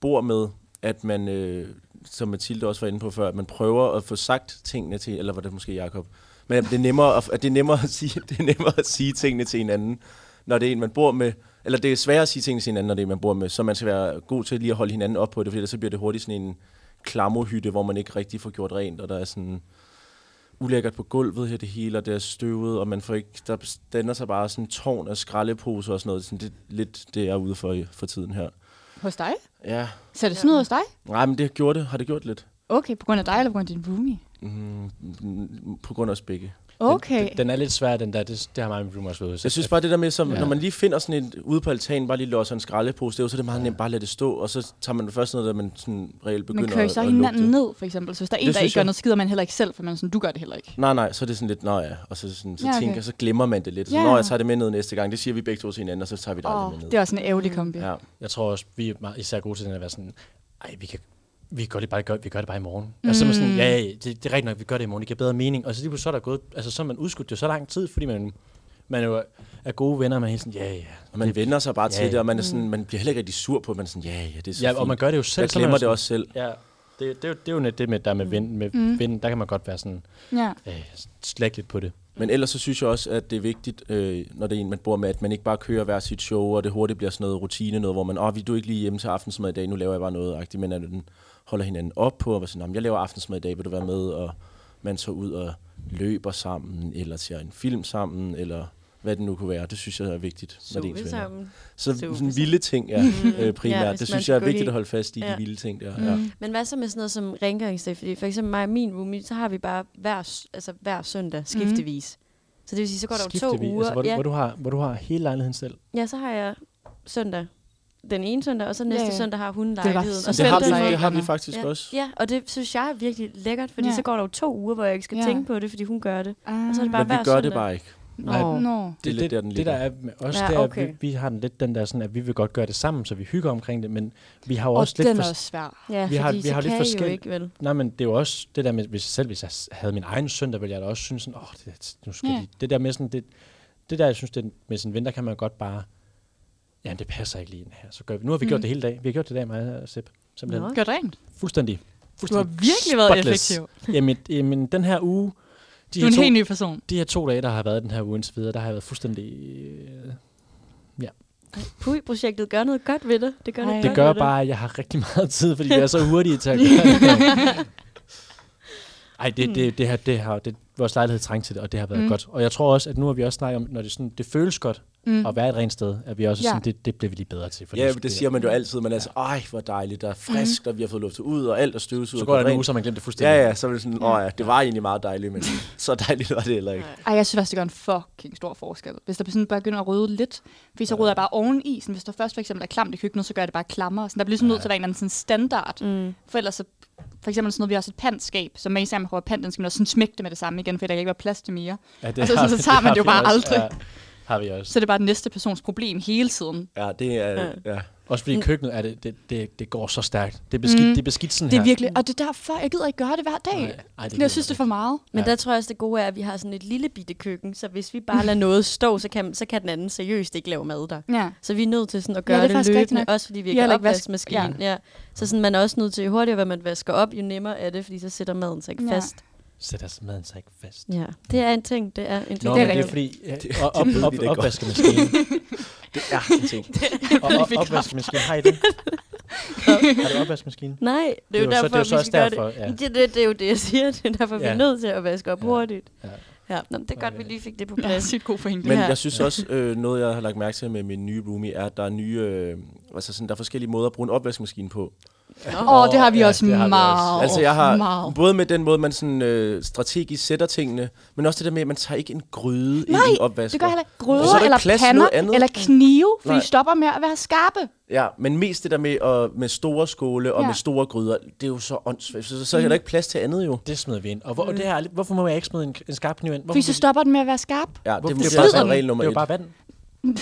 Speaker 6: bor med, at man, øh, som Mathilde også var inde på før, at man prøver at få sagt tingene til, eller var det måske Jakob, men at det er nemmere at, at, det er nemmere at, sige, det er nemmere at sige tingene til hinanden, når det er en, man bor med, eller det er sværere at sige tingene til hinanden, når det er en, man bor med, så man skal være god til lige at holde hinanden op på det, for ellers så bliver det hurtigt sådan en klammerhytte, hvor man ikke rigtig får gjort rent, og der er sådan ulækkert på gulvet her det hele, og det er støvet, og man får ikke, der danner sig bare sådan en tårn af skraldeposer og sådan noget. Sådan det, er lidt det, jeg er ude for, i- for tiden her.
Speaker 5: Hos dig?
Speaker 6: Ja,
Speaker 5: Så det sådan noget hos dig?
Speaker 6: nej, men det gjorde det. Har det gjort lidt?
Speaker 5: Okay, på grund af dig eller på grund af din roomie?
Speaker 6: Mm, mm, på grund af os begge.
Speaker 5: Okay.
Speaker 4: Den, den er lidt svær, den der. Det, det har mig og min room også været udsat
Speaker 6: Jeg synes
Speaker 4: for.
Speaker 6: bare, det der med, som,
Speaker 4: Ja.
Speaker 6: ja. når man lige finder sådan en ude på altanen, bare lige låser en skraldepose, det er jo så er det meget nemt bare at lade det stå, og så tager man først noget, der man sådan reelt
Speaker 5: man
Speaker 6: begynder
Speaker 5: kører
Speaker 6: at,
Speaker 5: så
Speaker 6: at lugte.
Speaker 5: hinanden ned, for eksempel. Så hvis der er en,
Speaker 6: Det
Speaker 5: der
Speaker 6: synes
Speaker 5: ikke gør
Speaker 6: jeg.
Speaker 5: noget, skider man heller ikke selv, for man er sådan, du gør det heller ikke.
Speaker 6: Nej, nej, så er det sådan lidt, nå ja, og så, sådan, så
Speaker 5: Ja,
Speaker 6: ja, okay.
Speaker 5: okay.
Speaker 6: tænker, så glemmer man det lidt. Så
Speaker 5: Ja.
Speaker 6: ja. når jeg tager det med ned næste gang, det siger vi begge to til hinanden, og så tager vi det
Speaker 5: Åh,
Speaker 6: aldrig med ned.
Speaker 5: det er også en ærgerlig kombi.
Speaker 6: Ja.
Speaker 4: Jeg tror også, vi er meget, især gode til den at være sådan, ej, vi kan vi kan godt lige bare gøre, vi gør det bare i morgen. Mm. Altså så er man sådan, ja, ja, det, det, er rigtigt nok, vi gør det i morgen, det giver bedre mening. Og så lige pludselig så er der gået, altså så har man udskudt det så lang tid, fordi man, man jo er gode venner, og man er helt sådan, ja, ja.
Speaker 6: Og man vender sig bare
Speaker 4: Ja,
Speaker 6: til
Speaker 4: ja.
Speaker 6: det, og man, er sådan, man bliver heller ikke rigtig sur på, at man er sådan, ja, ja, det er så
Speaker 4: ja,
Speaker 6: fint.
Speaker 4: og man gør det jo selv.
Speaker 6: jeg
Speaker 4: så man er
Speaker 6: glemmer
Speaker 4: sådan-
Speaker 6: det også selv.
Speaker 4: Ja, det, det, er jo- det er jo net det med, der med ven, med
Speaker 5: Mm.
Speaker 4: mm. ven, der kan man godt være sådan,
Speaker 5: Ja.
Speaker 4: øh, slække lidt på det.
Speaker 6: Men ellers så synes jeg også, at det er vigtigt, øh, når det er en, man bor med, at man ikke bare kører hver sit show, og det hurtigt bliver sådan noget rutine, noget, hvor man, åh, vi du er ikke lige hjemme til aftensmad i dag, nu laver jeg bare noget, agtigt, men at den holder hinanden op på, og er sådan, "Nå, men jeg laver aftensmad i dag, vil du være med, og man så ud og løber sammen, eller ser en film sammen, eller hvad det nu kunne være. Det synes jeg er vigtigt, når det er ens venner.
Speaker 3: sammen.
Speaker 6: Så
Speaker 3: Sover
Speaker 6: sådan
Speaker 3: sammen. Mm.
Speaker 6: vilde ting, ja, øh, primært.
Speaker 3: Ja,
Speaker 6: Ja,
Speaker 3: hvis
Speaker 6: det
Speaker 3: man
Speaker 6: synes jeg er
Speaker 3: skulle
Speaker 6: vigtigt
Speaker 3: lige-
Speaker 6: at holde fast i,
Speaker 3: Ja. Mm.
Speaker 6: de vilde ting der.
Speaker 5: Mm.
Speaker 6: Ja.
Speaker 3: Men hvad så med sådan noget som rengøringsdag? Fordi for eksempel mig og min roomie, så har vi bare hver, s- altså hver søndag skiftevis. Så det vil sige, så går der jo to
Speaker 4: Mhm. Skiftevis,
Speaker 3: uger.
Speaker 4: Altså, hvor, du,
Speaker 3: ja.
Speaker 4: hvor, du har, hvor du har hele lejligheden selv.
Speaker 3: ja, så har jeg søndag den ene søndag, og så næste
Speaker 5: Ja,
Speaker 3: ja,
Speaker 5: ja.
Speaker 3: ja. søndag har hun
Speaker 5: bare
Speaker 3: lejligheden.
Speaker 5: sådan,
Speaker 3: Og
Speaker 6: Det har, vi,
Speaker 3: søndag
Speaker 5: Søndag-
Speaker 6: det har vi faktisk også.
Speaker 3: Ja, og det synes jeg er virkelig lækkert, fordi
Speaker 5: Ja.
Speaker 3: ja. så går der jo to uger, hvor jeg ikke skal
Speaker 5: Ja.
Speaker 3: ja. tænke på det, fordi hun gør det.
Speaker 5: Ah.
Speaker 3: Og så er det bare
Speaker 6: Men vi
Speaker 3: hver
Speaker 6: gør
Speaker 3: søndag.
Speaker 6: det bare ikke.
Speaker 4: Nej.
Speaker 3: Nå.
Speaker 5: Nå.
Speaker 6: Det er lidt der, den
Speaker 4: det,
Speaker 6: ligger.
Speaker 4: der er med os,
Speaker 3: Ja,
Speaker 4: ja, det er, okay.
Speaker 3: okay.
Speaker 4: vi, vi har den lidt den der sådan, at vi vil godt gøre det sammen, så vi hygger omkring det, men vi har jo
Speaker 5: Og
Speaker 4: også lidt...
Speaker 5: den er
Speaker 4: fors-
Speaker 5: også svær.
Speaker 3: Ja,
Speaker 4: Vi
Speaker 3: vi
Speaker 4: har-
Speaker 3: fordi har,
Speaker 4: vi
Speaker 3: så
Speaker 4: har lidt
Speaker 3: kan jeg jo
Speaker 4: forskel-
Speaker 3: ikke, vel?
Speaker 4: Nej, men det er jo også det der med, hvis, selv hvis jeg s- havde min egen søndag, ville jeg da også synes sådan, åh, oh, det, nu skal
Speaker 5: Ja.
Speaker 4: ja. de, det der med sådan, det, det der, jeg synes, det, med sin ven, der kan man godt bare, ja, det passer ikke lige ind her, så gør vi. Nu har vi mm. gjort det hele dag. Vi har gjort det i dag, mig og Sepp. Simpelthen.
Speaker 3: Nå.
Speaker 5: Gør det rent.
Speaker 4: Fuldstændig.
Speaker 5: Du har
Speaker 4: Fuldstændig.
Speaker 5: virkelig været
Speaker 4: spotless.
Speaker 5: effektiv.
Speaker 4: Jamen, jamen, den her uge, de
Speaker 5: Du er
Speaker 4: her,
Speaker 5: en helt
Speaker 4: to,
Speaker 5: ny person.
Speaker 4: de her to dage, der har været den her uge indtil videre, der har jeg været fuldstændig... Øh,
Speaker 3: Puj-projektet gør noget godt ved det. Det gør,
Speaker 5: Ej.
Speaker 3: noget
Speaker 4: det
Speaker 3: godt
Speaker 4: gør
Speaker 3: ved det.
Speaker 4: bare, at jeg har rigtig meget tid, fordi jeg er så hurtig til at gøre det. Ej, det, det, det, her, det her, det, vores lejlighed trængte til det, og det har været
Speaker 5: Mm.
Speaker 4: mm. godt. Og jeg tror også, at nu har vi også snakket om, når det, sådan, det føles godt
Speaker 5: Mm.
Speaker 4: mm. at være et rent sted, at vi også
Speaker 5: Ja.
Speaker 4: ja. sådan, det, det bliver vi lige bedre til. For
Speaker 6: Ja, men det siger man jo altid. Man er altså, ej, hvor dejligt, der er frisk, og vi har fået luftet ud, og alt er støvsuget.
Speaker 4: Så
Speaker 6: og
Speaker 4: går der en
Speaker 6: rent.
Speaker 4: uge, så man glemte det fuldstændig.
Speaker 6: Ja, ja, så er det sådan, åh ja, det var egentlig meget dejligt, men så dejligt var det heller ikke.
Speaker 5: Ej, jeg synes faktisk, det gør en fucking stor forskel. Hvis der sådan bare begynder at rydde lidt, fordi så rydder jeg bare oven i. Sådan, hvis der først for eksempel er klamt i køkkenet, så gør jeg det bare klammer. Sådan, der bliver ligesom nødt til at være en eller anden sådan standard. Mm. For ellers så, for eksempel sådan noget, vi har også et pantskab, så med især man prøver pant, den skal man også sådan smække det med det samme igen, for der kan ikke være plads til mere.
Speaker 4: ja det
Speaker 5: Altså,
Speaker 4: har
Speaker 5: så- så
Speaker 4: vi-
Speaker 5: tager man
Speaker 4: har
Speaker 5: det jo
Speaker 4: vi
Speaker 5: bare
Speaker 4: også.
Speaker 5: aldrig.
Speaker 4: Ja, har vi også.
Speaker 5: Så er det bare den næste persons problem hele tiden.
Speaker 6: Ja, det er, ja.
Speaker 4: Også
Speaker 5: Mm.
Speaker 4: fordi køkkenet er det, det, det, det går så stærkt. Det er beskidt, mm. det er beskidt sådan
Speaker 5: Det er
Speaker 4: her.
Speaker 5: virkelig, og det er derfor, jeg gider ikke gøre det hver
Speaker 4: Nej,
Speaker 5: dag.
Speaker 4: ej, det
Speaker 5: Sådan,
Speaker 4: gider
Speaker 5: jeg synes,
Speaker 4: man
Speaker 5: det er for meget.
Speaker 3: Men
Speaker 4: Ja.
Speaker 3: der tror jeg også, det gode er, at vi har sådan et lille bitte køkken, så hvis vi bare lader noget stå, så kan, så kan den anden seriøst ikke lave mad der.
Speaker 5: Ja.
Speaker 3: Så vi er nødt til sådan at
Speaker 5: Ja,
Speaker 3: gøre
Speaker 5: det er
Speaker 3: ja, det,
Speaker 5: faktisk
Speaker 3: det
Speaker 5: rigtigt
Speaker 3: løbende,
Speaker 5: nok.
Speaker 3: også fordi vi
Speaker 5: Vi
Speaker 3: ikke
Speaker 5: har
Speaker 3: har
Speaker 5: heller ikke vasket-
Speaker 3: opvaskemaskinen. Ja. ja. Så sådan, man er også nødt til, jo hurtigere hvad man vasker op, jo nemmere er det, fordi så sætter maden sig ikke
Speaker 5: Ja.
Speaker 3: ja. fast.
Speaker 4: Sætter altså maden sig ikke fast.
Speaker 3: Ja, det er en ting, det er en ting.
Speaker 4: Nå,
Speaker 5: Det er
Speaker 4: det er, men det er
Speaker 5: rigtigt.
Speaker 4: fordi, ja,
Speaker 6: Det-
Speaker 4: og op,
Speaker 6: det ved
Speaker 4: op,
Speaker 6: vi da godt.
Speaker 4: opvaskemaskinen,
Speaker 6: Det er en ting.
Speaker 4: Og, og opvaskemaskine, har I det? har du opvaskemaskine?
Speaker 3: Nej, det er jo
Speaker 4: så-
Speaker 3: derfor,
Speaker 4: det er jo så
Speaker 3: vi
Speaker 4: også
Speaker 3: skal gøre
Speaker 4: derfor,
Speaker 3: det.
Speaker 4: ja.
Speaker 3: Ja. Det, det. Det er jo det, jeg siger. Det er derfor, ja. vi
Speaker 4: Ja.
Speaker 3: er nødt til at vaske op
Speaker 4: Ja.
Speaker 3: ja. hurtigt.
Speaker 4: Ja.
Speaker 3: Ja. Nå, men det er godt,
Speaker 4: Okay.
Speaker 3: vi lige fik det på
Speaker 5: Ja,
Speaker 3: plads.
Speaker 5: sygt god pointe.
Speaker 6: Men
Speaker 5: Ja.
Speaker 6: jeg synes også, øh, noget jeg har lagt mærke til med min nye roomie, er, at der er nye, øh, altså sådan, der er forskellige måder at bruge en opvaskemaskine på.
Speaker 5: Åh, oh, det har vi
Speaker 4: Ja,
Speaker 5: også
Speaker 4: det har vi også.
Speaker 5: meget.
Speaker 6: Altså jeg har
Speaker 5: meget.
Speaker 6: både med den måde, man sådan, øh, strategisk sætter tingene, men også det der med, at man tager ikke en gryde
Speaker 5: Nej,
Speaker 6: ind i en opvasker.
Speaker 5: Det gør heller ikke
Speaker 6: Og så
Speaker 5: grøder,
Speaker 6: er der
Speaker 5: eller
Speaker 6: plads til
Speaker 5: pander,
Speaker 6: noget andet.
Speaker 5: eller knive, for I
Speaker 6: Nej.
Speaker 5: stopper med at være skarpe.
Speaker 6: Ja, men mest det der med, at, med store skåle og
Speaker 5: Ja.
Speaker 6: med store gryder, det er jo så åndssvagt. Så, så, så er der ikke plads til andet jo.
Speaker 4: Det smider vi ind. Og, hvor,
Speaker 5: Mm.
Speaker 4: og det her, er lidt- hvorfor må jeg ikke smide en, en skarp kniv ind? Hvorfor,
Speaker 5: Fordi så stopper den med at være skarp.
Speaker 6: Ja, det,
Speaker 4: Hvorfor-
Speaker 6: det
Speaker 4: det
Speaker 6: er
Speaker 4: er
Speaker 6: bare
Speaker 4: bare-
Speaker 6: sådan regel nummer
Speaker 4: det er jo
Speaker 6: et.
Speaker 4: bare vand.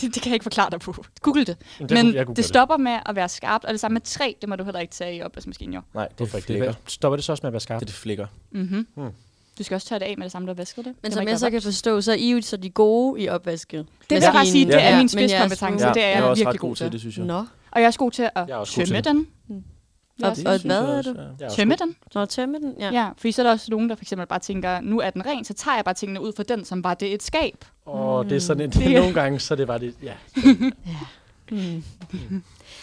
Speaker 5: Det, det kan jeg ikke forklare dig på. Google det.
Speaker 4: Jamen,
Speaker 5: Men
Speaker 4: kunne- jeg kunne
Speaker 5: det,
Speaker 4: gøre
Speaker 5: stopper med at være skarpt, og det samme med træ, det må du heller ikke tage i opvaskemaskinen, jo.
Speaker 6: Nej, det,
Speaker 4: Det,
Speaker 6: er for ikke
Speaker 4: det,
Speaker 6: lækker.
Speaker 4: det, stopper det så også med at være
Speaker 6: Det
Speaker 4: skarpt?
Speaker 6: er det flikker.
Speaker 5: Mm-hmm.
Speaker 6: Hmm.
Speaker 5: Hmm. Du skal også tørre det af med det samme, du har vasket det.
Speaker 3: Men
Speaker 5: det
Speaker 3: som jeg så kan forstå, så er I jo så de gode i opvasket.
Speaker 5: Det vil jeg bare sige, det
Speaker 6: Ja.
Speaker 5: er min
Speaker 3: Men jeres
Speaker 5: spidskompetence.
Speaker 3: ude-
Speaker 5: det er
Speaker 6: jeg
Speaker 5: jeg,
Speaker 6: er også
Speaker 5: virkelig
Speaker 6: ret god til,
Speaker 5: det.
Speaker 6: det synes jeg.
Speaker 3: Nå,
Speaker 5: Og jeg er også god til at
Speaker 4: Jeg er også god
Speaker 5: tømme
Speaker 4: til
Speaker 5: den. Jeg er
Speaker 3: Og-
Speaker 5: også-
Speaker 3: og-
Speaker 6: synes jeg
Speaker 3: hvad er
Speaker 6: også,
Speaker 3: du?
Speaker 6: ja.
Speaker 4: Jeg er også
Speaker 5: Tømme
Speaker 4: god.
Speaker 5: den.
Speaker 3: Nå, tømme den. Ja.
Speaker 5: Ja. ja, fordi så er der også nogen, der for eksempel bare tænker, nu er den ren, så tager jeg bare tingene ud fra den, som var det et skab.
Speaker 4: Åh, det er sådan en,
Speaker 5: Mm. Det-
Speaker 4: nogle gange, så er det var det, ja.
Speaker 3: Mm.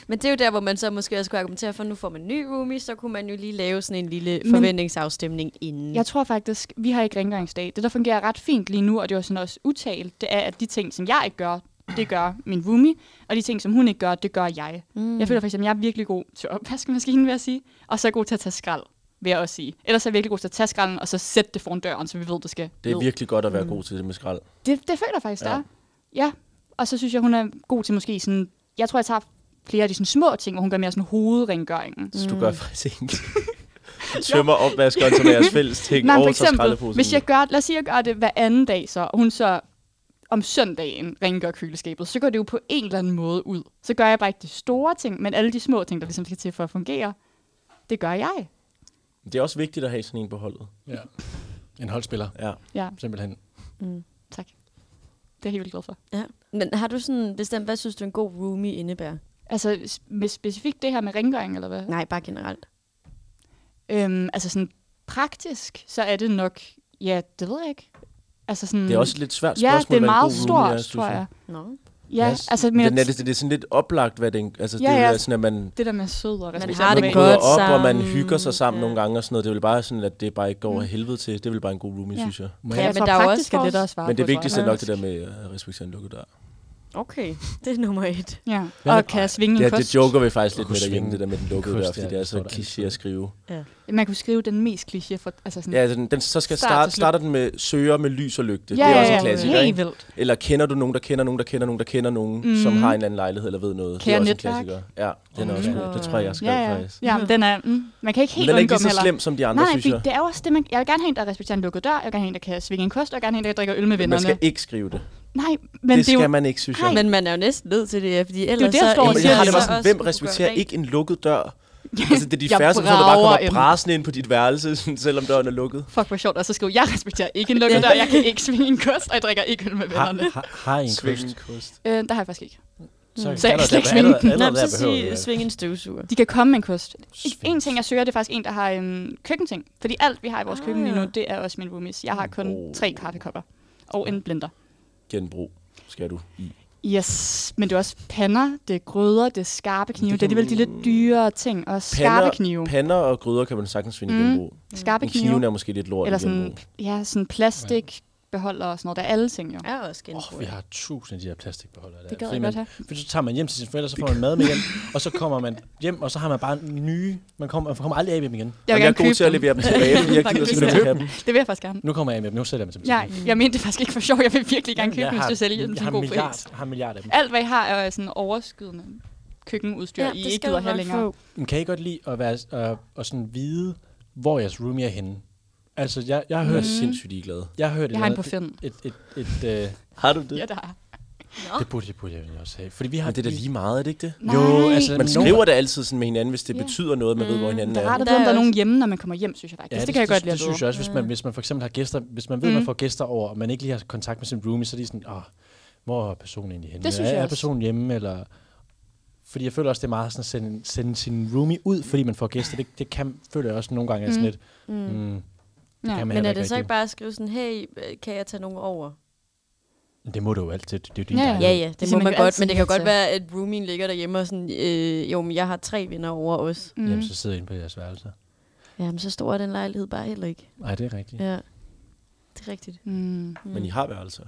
Speaker 3: Men det er jo der, hvor man så måske også kunne argumentere for, at nu får man en ny roomie, så kunne man jo lige lave sådan en lille
Speaker 5: Men-
Speaker 3: forventningsafstemning inden.
Speaker 5: Jeg tror faktisk, vi har ikke rengøringsdag. Det, der fungerer ret fint lige nu, og det var sådan også utalt, det er, at de ting, som jeg ikke gør, det gør min roomie, og de ting, som hun ikke gør, det gør jeg. Mm. Jeg føler for eksempel, at jeg er virkelig god til opvaskemaskinen, vil jeg sige, og så er jeg god til at tage skrald, vil jeg også sige. Ellers er jeg virkelig god til at tage skralden, og så sætte det foran døren, så vi ved, det skal
Speaker 6: Det er
Speaker 5: ned.
Speaker 6: virkelig godt at være god til det med skrald.
Speaker 5: Det, det føler jeg faktisk, ja.
Speaker 6: Ja.
Speaker 5: der. Ja, og så synes jeg, hun er god til måske sådan... Jeg tror, jeg tager flere af de sådan små ting, hvor hun gør mere sådan hovedrengøringen.
Speaker 6: Så du gør faktisk ikke. Tømmer opvaskeren som er jeres fælles ting
Speaker 5: Nej, for
Speaker 6: og så
Speaker 5: eksempel,
Speaker 6: skraldeposen.
Speaker 5: hvis jeg gør, lad os sige, jeg gør det hver anden dag så, og hun så om søndagen rengør køleskabet, så går det jo på en eller anden måde ud. Så gør jeg bare ikke de store ting, men alle de små ting, der ligesom skal til for at fungere, det gør jeg.
Speaker 6: Det er også vigtigt at have sådan en på holdet.
Speaker 4: ja. En holdspiller,
Speaker 6: Ja.
Speaker 5: Ja,
Speaker 4: simpelthen.
Speaker 5: tak. Det er jeg helt vildt glad for.
Speaker 3: Ja. Men har du sådan bestemt, hvad synes du en god roomie indebærer?
Speaker 5: Altså, s- med specifikt det her med rengøring, eller hvad?
Speaker 3: Nej, bare generelt.
Speaker 5: Øhm, altså sådan praktisk, så er det nok, ja, det ved jeg ikke. Altså sådan,
Speaker 6: Det er også et lidt svært
Speaker 5: ja,
Speaker 6: spørgsmål.
Speaker 5: det er
Speaker 6: hvad en
Speaker 5: meget
Speaker 6: god
Speaker 5: stort,
Speaker 6: roomie er, synes
Speaker 5: tror jeg.
Speaker 3: Nå.
Speaker 5: Ja,
Speaker 6: Yes.
Speaker 5: altså men
Speaker 6: Men den er,
Speaker 5: jeg-
Speaker 6: det, det er sådan lidt oplagt, hvad den... Altså,
Speaker 5: Ja,
Speaker 6: det er
Speaker 5: ja.
Speaker 6: jo sådan, at man,
Speaker 5: det der med sød og respekt.
Speaker 3: har
Speaker 6: man
Speaker 3: det
Speaker 5: omkring-
Speaker 3: godt
Speaker 6: møder op, og man
Speaker 3: sammen.
Speaker 6: hygger sig sammen
Speaker 3: Ja.
Speaker 6: ja. nogle gange og sådan noget. Det er vel bare sådan, at det bare ikke går af helvede til. Det er vel bare en god roomie,
Speaker 5: Mm. Ja.
Speaker 6: ja. synes jeg.
Speaker 4: Må
Speaker 5: Ja,
Speaker 4: jeg?
Speaker 5: jeg
Speaker 3: men
Speaker 5: tror,
Speaker 3: der er jo
Speaker 5: praktisk
Speaker 3: også-
Speaker 5: er det, der er svaret
Speaker 6: Men det
Speaker 5: på, tror jeg.
Speaker 6: vigtigste er nok det der med øh, at respektere en lukket dør.
Speaker 3: Okay, det er nummer et.
Speaker 5: Ja,
Speaker 4: Hvad
Speaker 5: og
Speaker 4: med-
Speaker 5: kan jeg svinge en
Speaker 6: Ja,
Speaker 5: kost?
Speaker 6: det joker vi faktisk lidt
Speaker 4: Kunne
Speaker 6: med derhjemme,
Speaker 4: svinge
Speaker 6: det der med den lukkede
Speaker 4: en
Speaker 6: dør,
Speaker 4: kost,
Speaker 6: fordi
Speaker 4: ja,
Speaker 6: det er
Speaker 4: det
Speaker 6: så
Speaker 4: står der
Speaker 6: kliché
Speaker 4: altid.
Speaker 6: at skrive.
Speaker 5: Mm. Man kunne skrive den mest kliché for, altså sådan,
Speaker 6: Ja, altså, den, den så skal
Speaker 5: Start
Speaker 6: starte,
Speaker 5: til slut.
Speaker 6: starter den med søger med lys og lygte.
Speaker 5: ja,
Speaker 6: det er
Speaker 5: ja,
Speaker 6: også en
Speaker 5: ja,
Speaker 6: klassiker,
Speaker 5: helt
Speaker 6: ikke?
Speaker 5: vildt.
Speaker 6: Eller kender du nogen, der kender nogen, der kender nogen, der kender nogen, mm. som
Speaker 5: Mhm.
Speaker 6: har en eller anden lejlighed eller ved noget.
Speaker 5: Kære
Speaker 6: det er
Speaker 5: netværk. Oh,
Speaker 6: også en klassiker. Ja, den er også
Speaker 4: Mhm.
Speaker 6: god. Det tror jeg, jeg skrev
Speaker 5: Ja, ja.
Speaker 6: faktisk.
Speaker 5: ja men den er, mm, man kan ikke
Speaker 6: Men
Speaker 5: helt
Speaker 6: den er
Speaker 5: undgå
Speaker 6: ikke lige
Speaker 5: dem
Speaker 6: så
Speaker 5: heller.
Speaker 6: slem som de andre,
Speaker 5: Nej,
Speaker 6: synes
Speaker 5: fordi
Speaker 6: jeg.
Speaker 5: det er jo også det, man, jeg vil gerne have en, der respekterer en lukket dør, jeg vil gerne have en, der kan svinge en kost, og jeg vil gerne have en, der drikker øl med
Speaker 6: Man
Speaker 5: vennerne.
Speaker 6: skal ikke skrive det.
Speaker 5: Nej, men
Speaker 6: det
Speaker 5: det er jo
Speaker 6: skal man ikke, synes jeg.
Speaker 3: Men man er jo næsten nødt til det, ja, fordi ellers
Speaker 5: det, jeg står og
Speaker 6: Jamen,
Speaker 3: så...
Speaker 5: siger,
Speaker 6: jeg har
Speaker 5: det
Speaker 6: det
Speaker 5: så
Speaker 6: bare sådan, hvem respekterer ikke en lukket dør? Altså, det er de
Speaker 5: Jeg
Speaker 6: færreste personer, der bare
Speaker 5: brager
Speaker 6: kommer
Speaker 5: ind.
Speaker 6: brasende ind på dit værelse, sådan, selvom døren er lukket.
Speaker 5: fuck, hvor sjovt, og så skriver, jeg respekterer ikke en lukket dør, jeg kan ikke svinge en kost, og jeg drikker ikke øl med vennerne.
Speaker 4: Har, har, har I en
Speaker 6: Svingen
Speaker 4: kost?
Speaker 6: kost.
Speaker 5: Øh, der har jeg faktisk ikke.
Speaker 4: Så
Speaker 5: Så jeg kan slet ikke svinge den.
Speaker 4: Allerede,
Speaker 3: Nå,
Speaker 4: allerede
Speaker 3: så
Speaker 4: behøver vi
Speaker 3: sig,
Speaker 4: det.
Speaker 3: sving en støvsuger.
Speaker 5: De kan komme med en kost.
Speaker 4: Sving.
Speaker 5: En ting, jeg søger, det er faktisk en, der har en køkkenting. Fordi alt, vi har i vores
Speaker 3: Ah.
Speaker 5: køkken lige nu, det er også min roomies. Jeg har kun
Speaker 6: Oh.
Speaker 5: tre kaffekopper og en blender.
Speaker 6: Genbrug skal du i.
Speaker 5: Yes, men det er også pander, det er grøder, det er skarpe knive. Det, det er alligevel de lidt dyrere ting, og skarpe knive.
Speaker 6: pander og gryder kan man sagtens finde i
Speaker 5: Mm.
Speaker 6: genbrug.
Speaker 5: Skarpe
Speaker 6: Men kniven
Speaker 5: knive,
Speaker 6: er måske lidt lort
Speaker 5: eller
Speaker 6: i genbrug.
Speaker 5: sådan, ja, sådan plastik, beholder og sådan noget. Der er alle ting, jo.
Speaker 3: Jeg er også genbrug.
Speaker 4: Åh, vi har tusind af de her plastikbeholdere. Der.
Speaker 5: Det gad
Speaker 4: Fordi
Speaker 5: jeg
Speaker 4: man-
Speaker 5: godt have.
Speaker 4: Fordi så tager man hjem til sine forældre, så får man mad med hjem, og så kommer man hjem, og så har man bare nye... Man kommer, man kommer aldrig af med dem igen.
Speaker 6: Jeg, jeg
Speaker 5: vil
Speaker 6: er
Speaker 5: gerne
Speaker 6: god
Speaker 5: købe
Speaker 6: til at
Speaker 5: dem.
Speaker 6: levere dem tilbage, fordi jeg gider
Speaker 5: Faktisk.
Speaker 6: simpelthen ikke have dem.
Speaker 5: Det vil jeg faktisk gerne.
Speaker 4: Nu kommer jeg af med dem, nu sælger jeg dem til
Speaker 5: Jeg, jeg mente det faktisk ikke for sjov. Jeg vil virkelig gerne købe dem, hvis du sælger dem
Speaker 4: jeg
Speaker 5: til
Speaker 4: har
Speaker 5: en
Speaker 4: en
Speaker 5: god
Speaker 4: milliard,
Speaker 5: pris.
Speaker 4: jeg har en milliard af dem.
Speaker 5: Alt, hvad I har, er sådan overskydende køkkenudstyr, I ikke gider have længere.
Speaker 4: Men kan I godt lide at, være, at, at sådan vide, hvor jeres roomie er henne? Altså, jeg, jeg har
Speaker 6: Jeg
Speaker 4: hørt...
Speaker 6: er
Speaker 5: Mm.
Speaker 6: sindssygt ligeglad.
Speaker 4: Jeg har hørt
Speaker 5: Mhm. Jeg har en på
Speaker 4: et,
Speaker 5: Finn.
Speaker 4: et, et, et, et, øh,
Speaker 6: Har du
Speaker 5: Ja,
Speaker 6: det?
Speaker 5: der er.
Speaker 4: det burde jeg, burde jeg egentlig også have. Fordi vi har...
Speaker 6: Men det er da lige meget, er det ikke det?
Speaker 5: Nej.
Speaker 4: Jo, altså,
Speaker 6: Man
Speaker 4: nogen-
Speaker 6: skriver det altid sådan med hinanden, hvis det
Speaker 5: Ja. Mm.
Speaker 6: betyder noget, at man ved, hvor hinanden
Speaker 5: Det er
Speaker 6: er.
Speaker 5: rart at
Speaker 3: Der
Speaker 5: vide, om
Speaker 3: er
Speaker 5: der er nogen
Speaker 3: også-
Speaker 5: hjemme, når man kommer hjem, synes jeg faktisk. Ja, Altså, det, det, kan jeg godt lide
Speaker 4: Det synes jeg også, hvis man, hvis man for eksempel har gæster, hvis man ved,
Speaker 5: Mm.
Speaker 4: man får gæster over, og man ikke lige har kontakt med sin roomie, så er de sådan, åh, hvor er personen egentlig henne?
Speaker 5: Det synes jeg
Speaker 4: er, er
Speaker 5: også.
Speaker 4: personen hjemme, eller... Fordi jeg føler også, det er meget sådan at sende, sende sin roomie ud, fordi man får gæster. Det, det kan, føler jeg også nogle gange er sådan lidt... Mm. Mm, det
Speaker 5: Ja,
Speaker 4: kan man
Speaker 3: Men
Speaker 4: heller
Speaker 3: er det så ikke
Speaker 4: rigtig.
Speaker 3: bare at skrive sådan, hey, øh, kan jeg tage nogen over?
Speaker 4: Det må du jo altid. Det, det er jo din
Speaker 5: Ja, ja.
Speaker 4: dejlighed.
Speaker 3: Ja, ja, det
Speaker 5: Det
Speaker 3: må
Speaker 5: siger man
Speaker 3: man
Speaker 5: jo
Speaker 3: godt,
Speaker 5: altid
Speaker 3: men det kan jo
Speaker 5: ja
Speaker 3: godt
Speaker 5: til.
Speaker 3: være, at roomien ligger derhjemme og sådan, øh, jo, men jeg har tre venner over os.
Speaker 5: Mm.
Speaker 4: Jamen, så sidder jeg inde på jeres værelse.
Speaker 3: Jamen, så stor er den lejlighed bare heller ikke.
Speaker 4: Nej, det er rigtigt.
Speaker 3: Ja, det er rigtigt.
Speaker 5: Mm.
Speaker 6: Men I har værelser.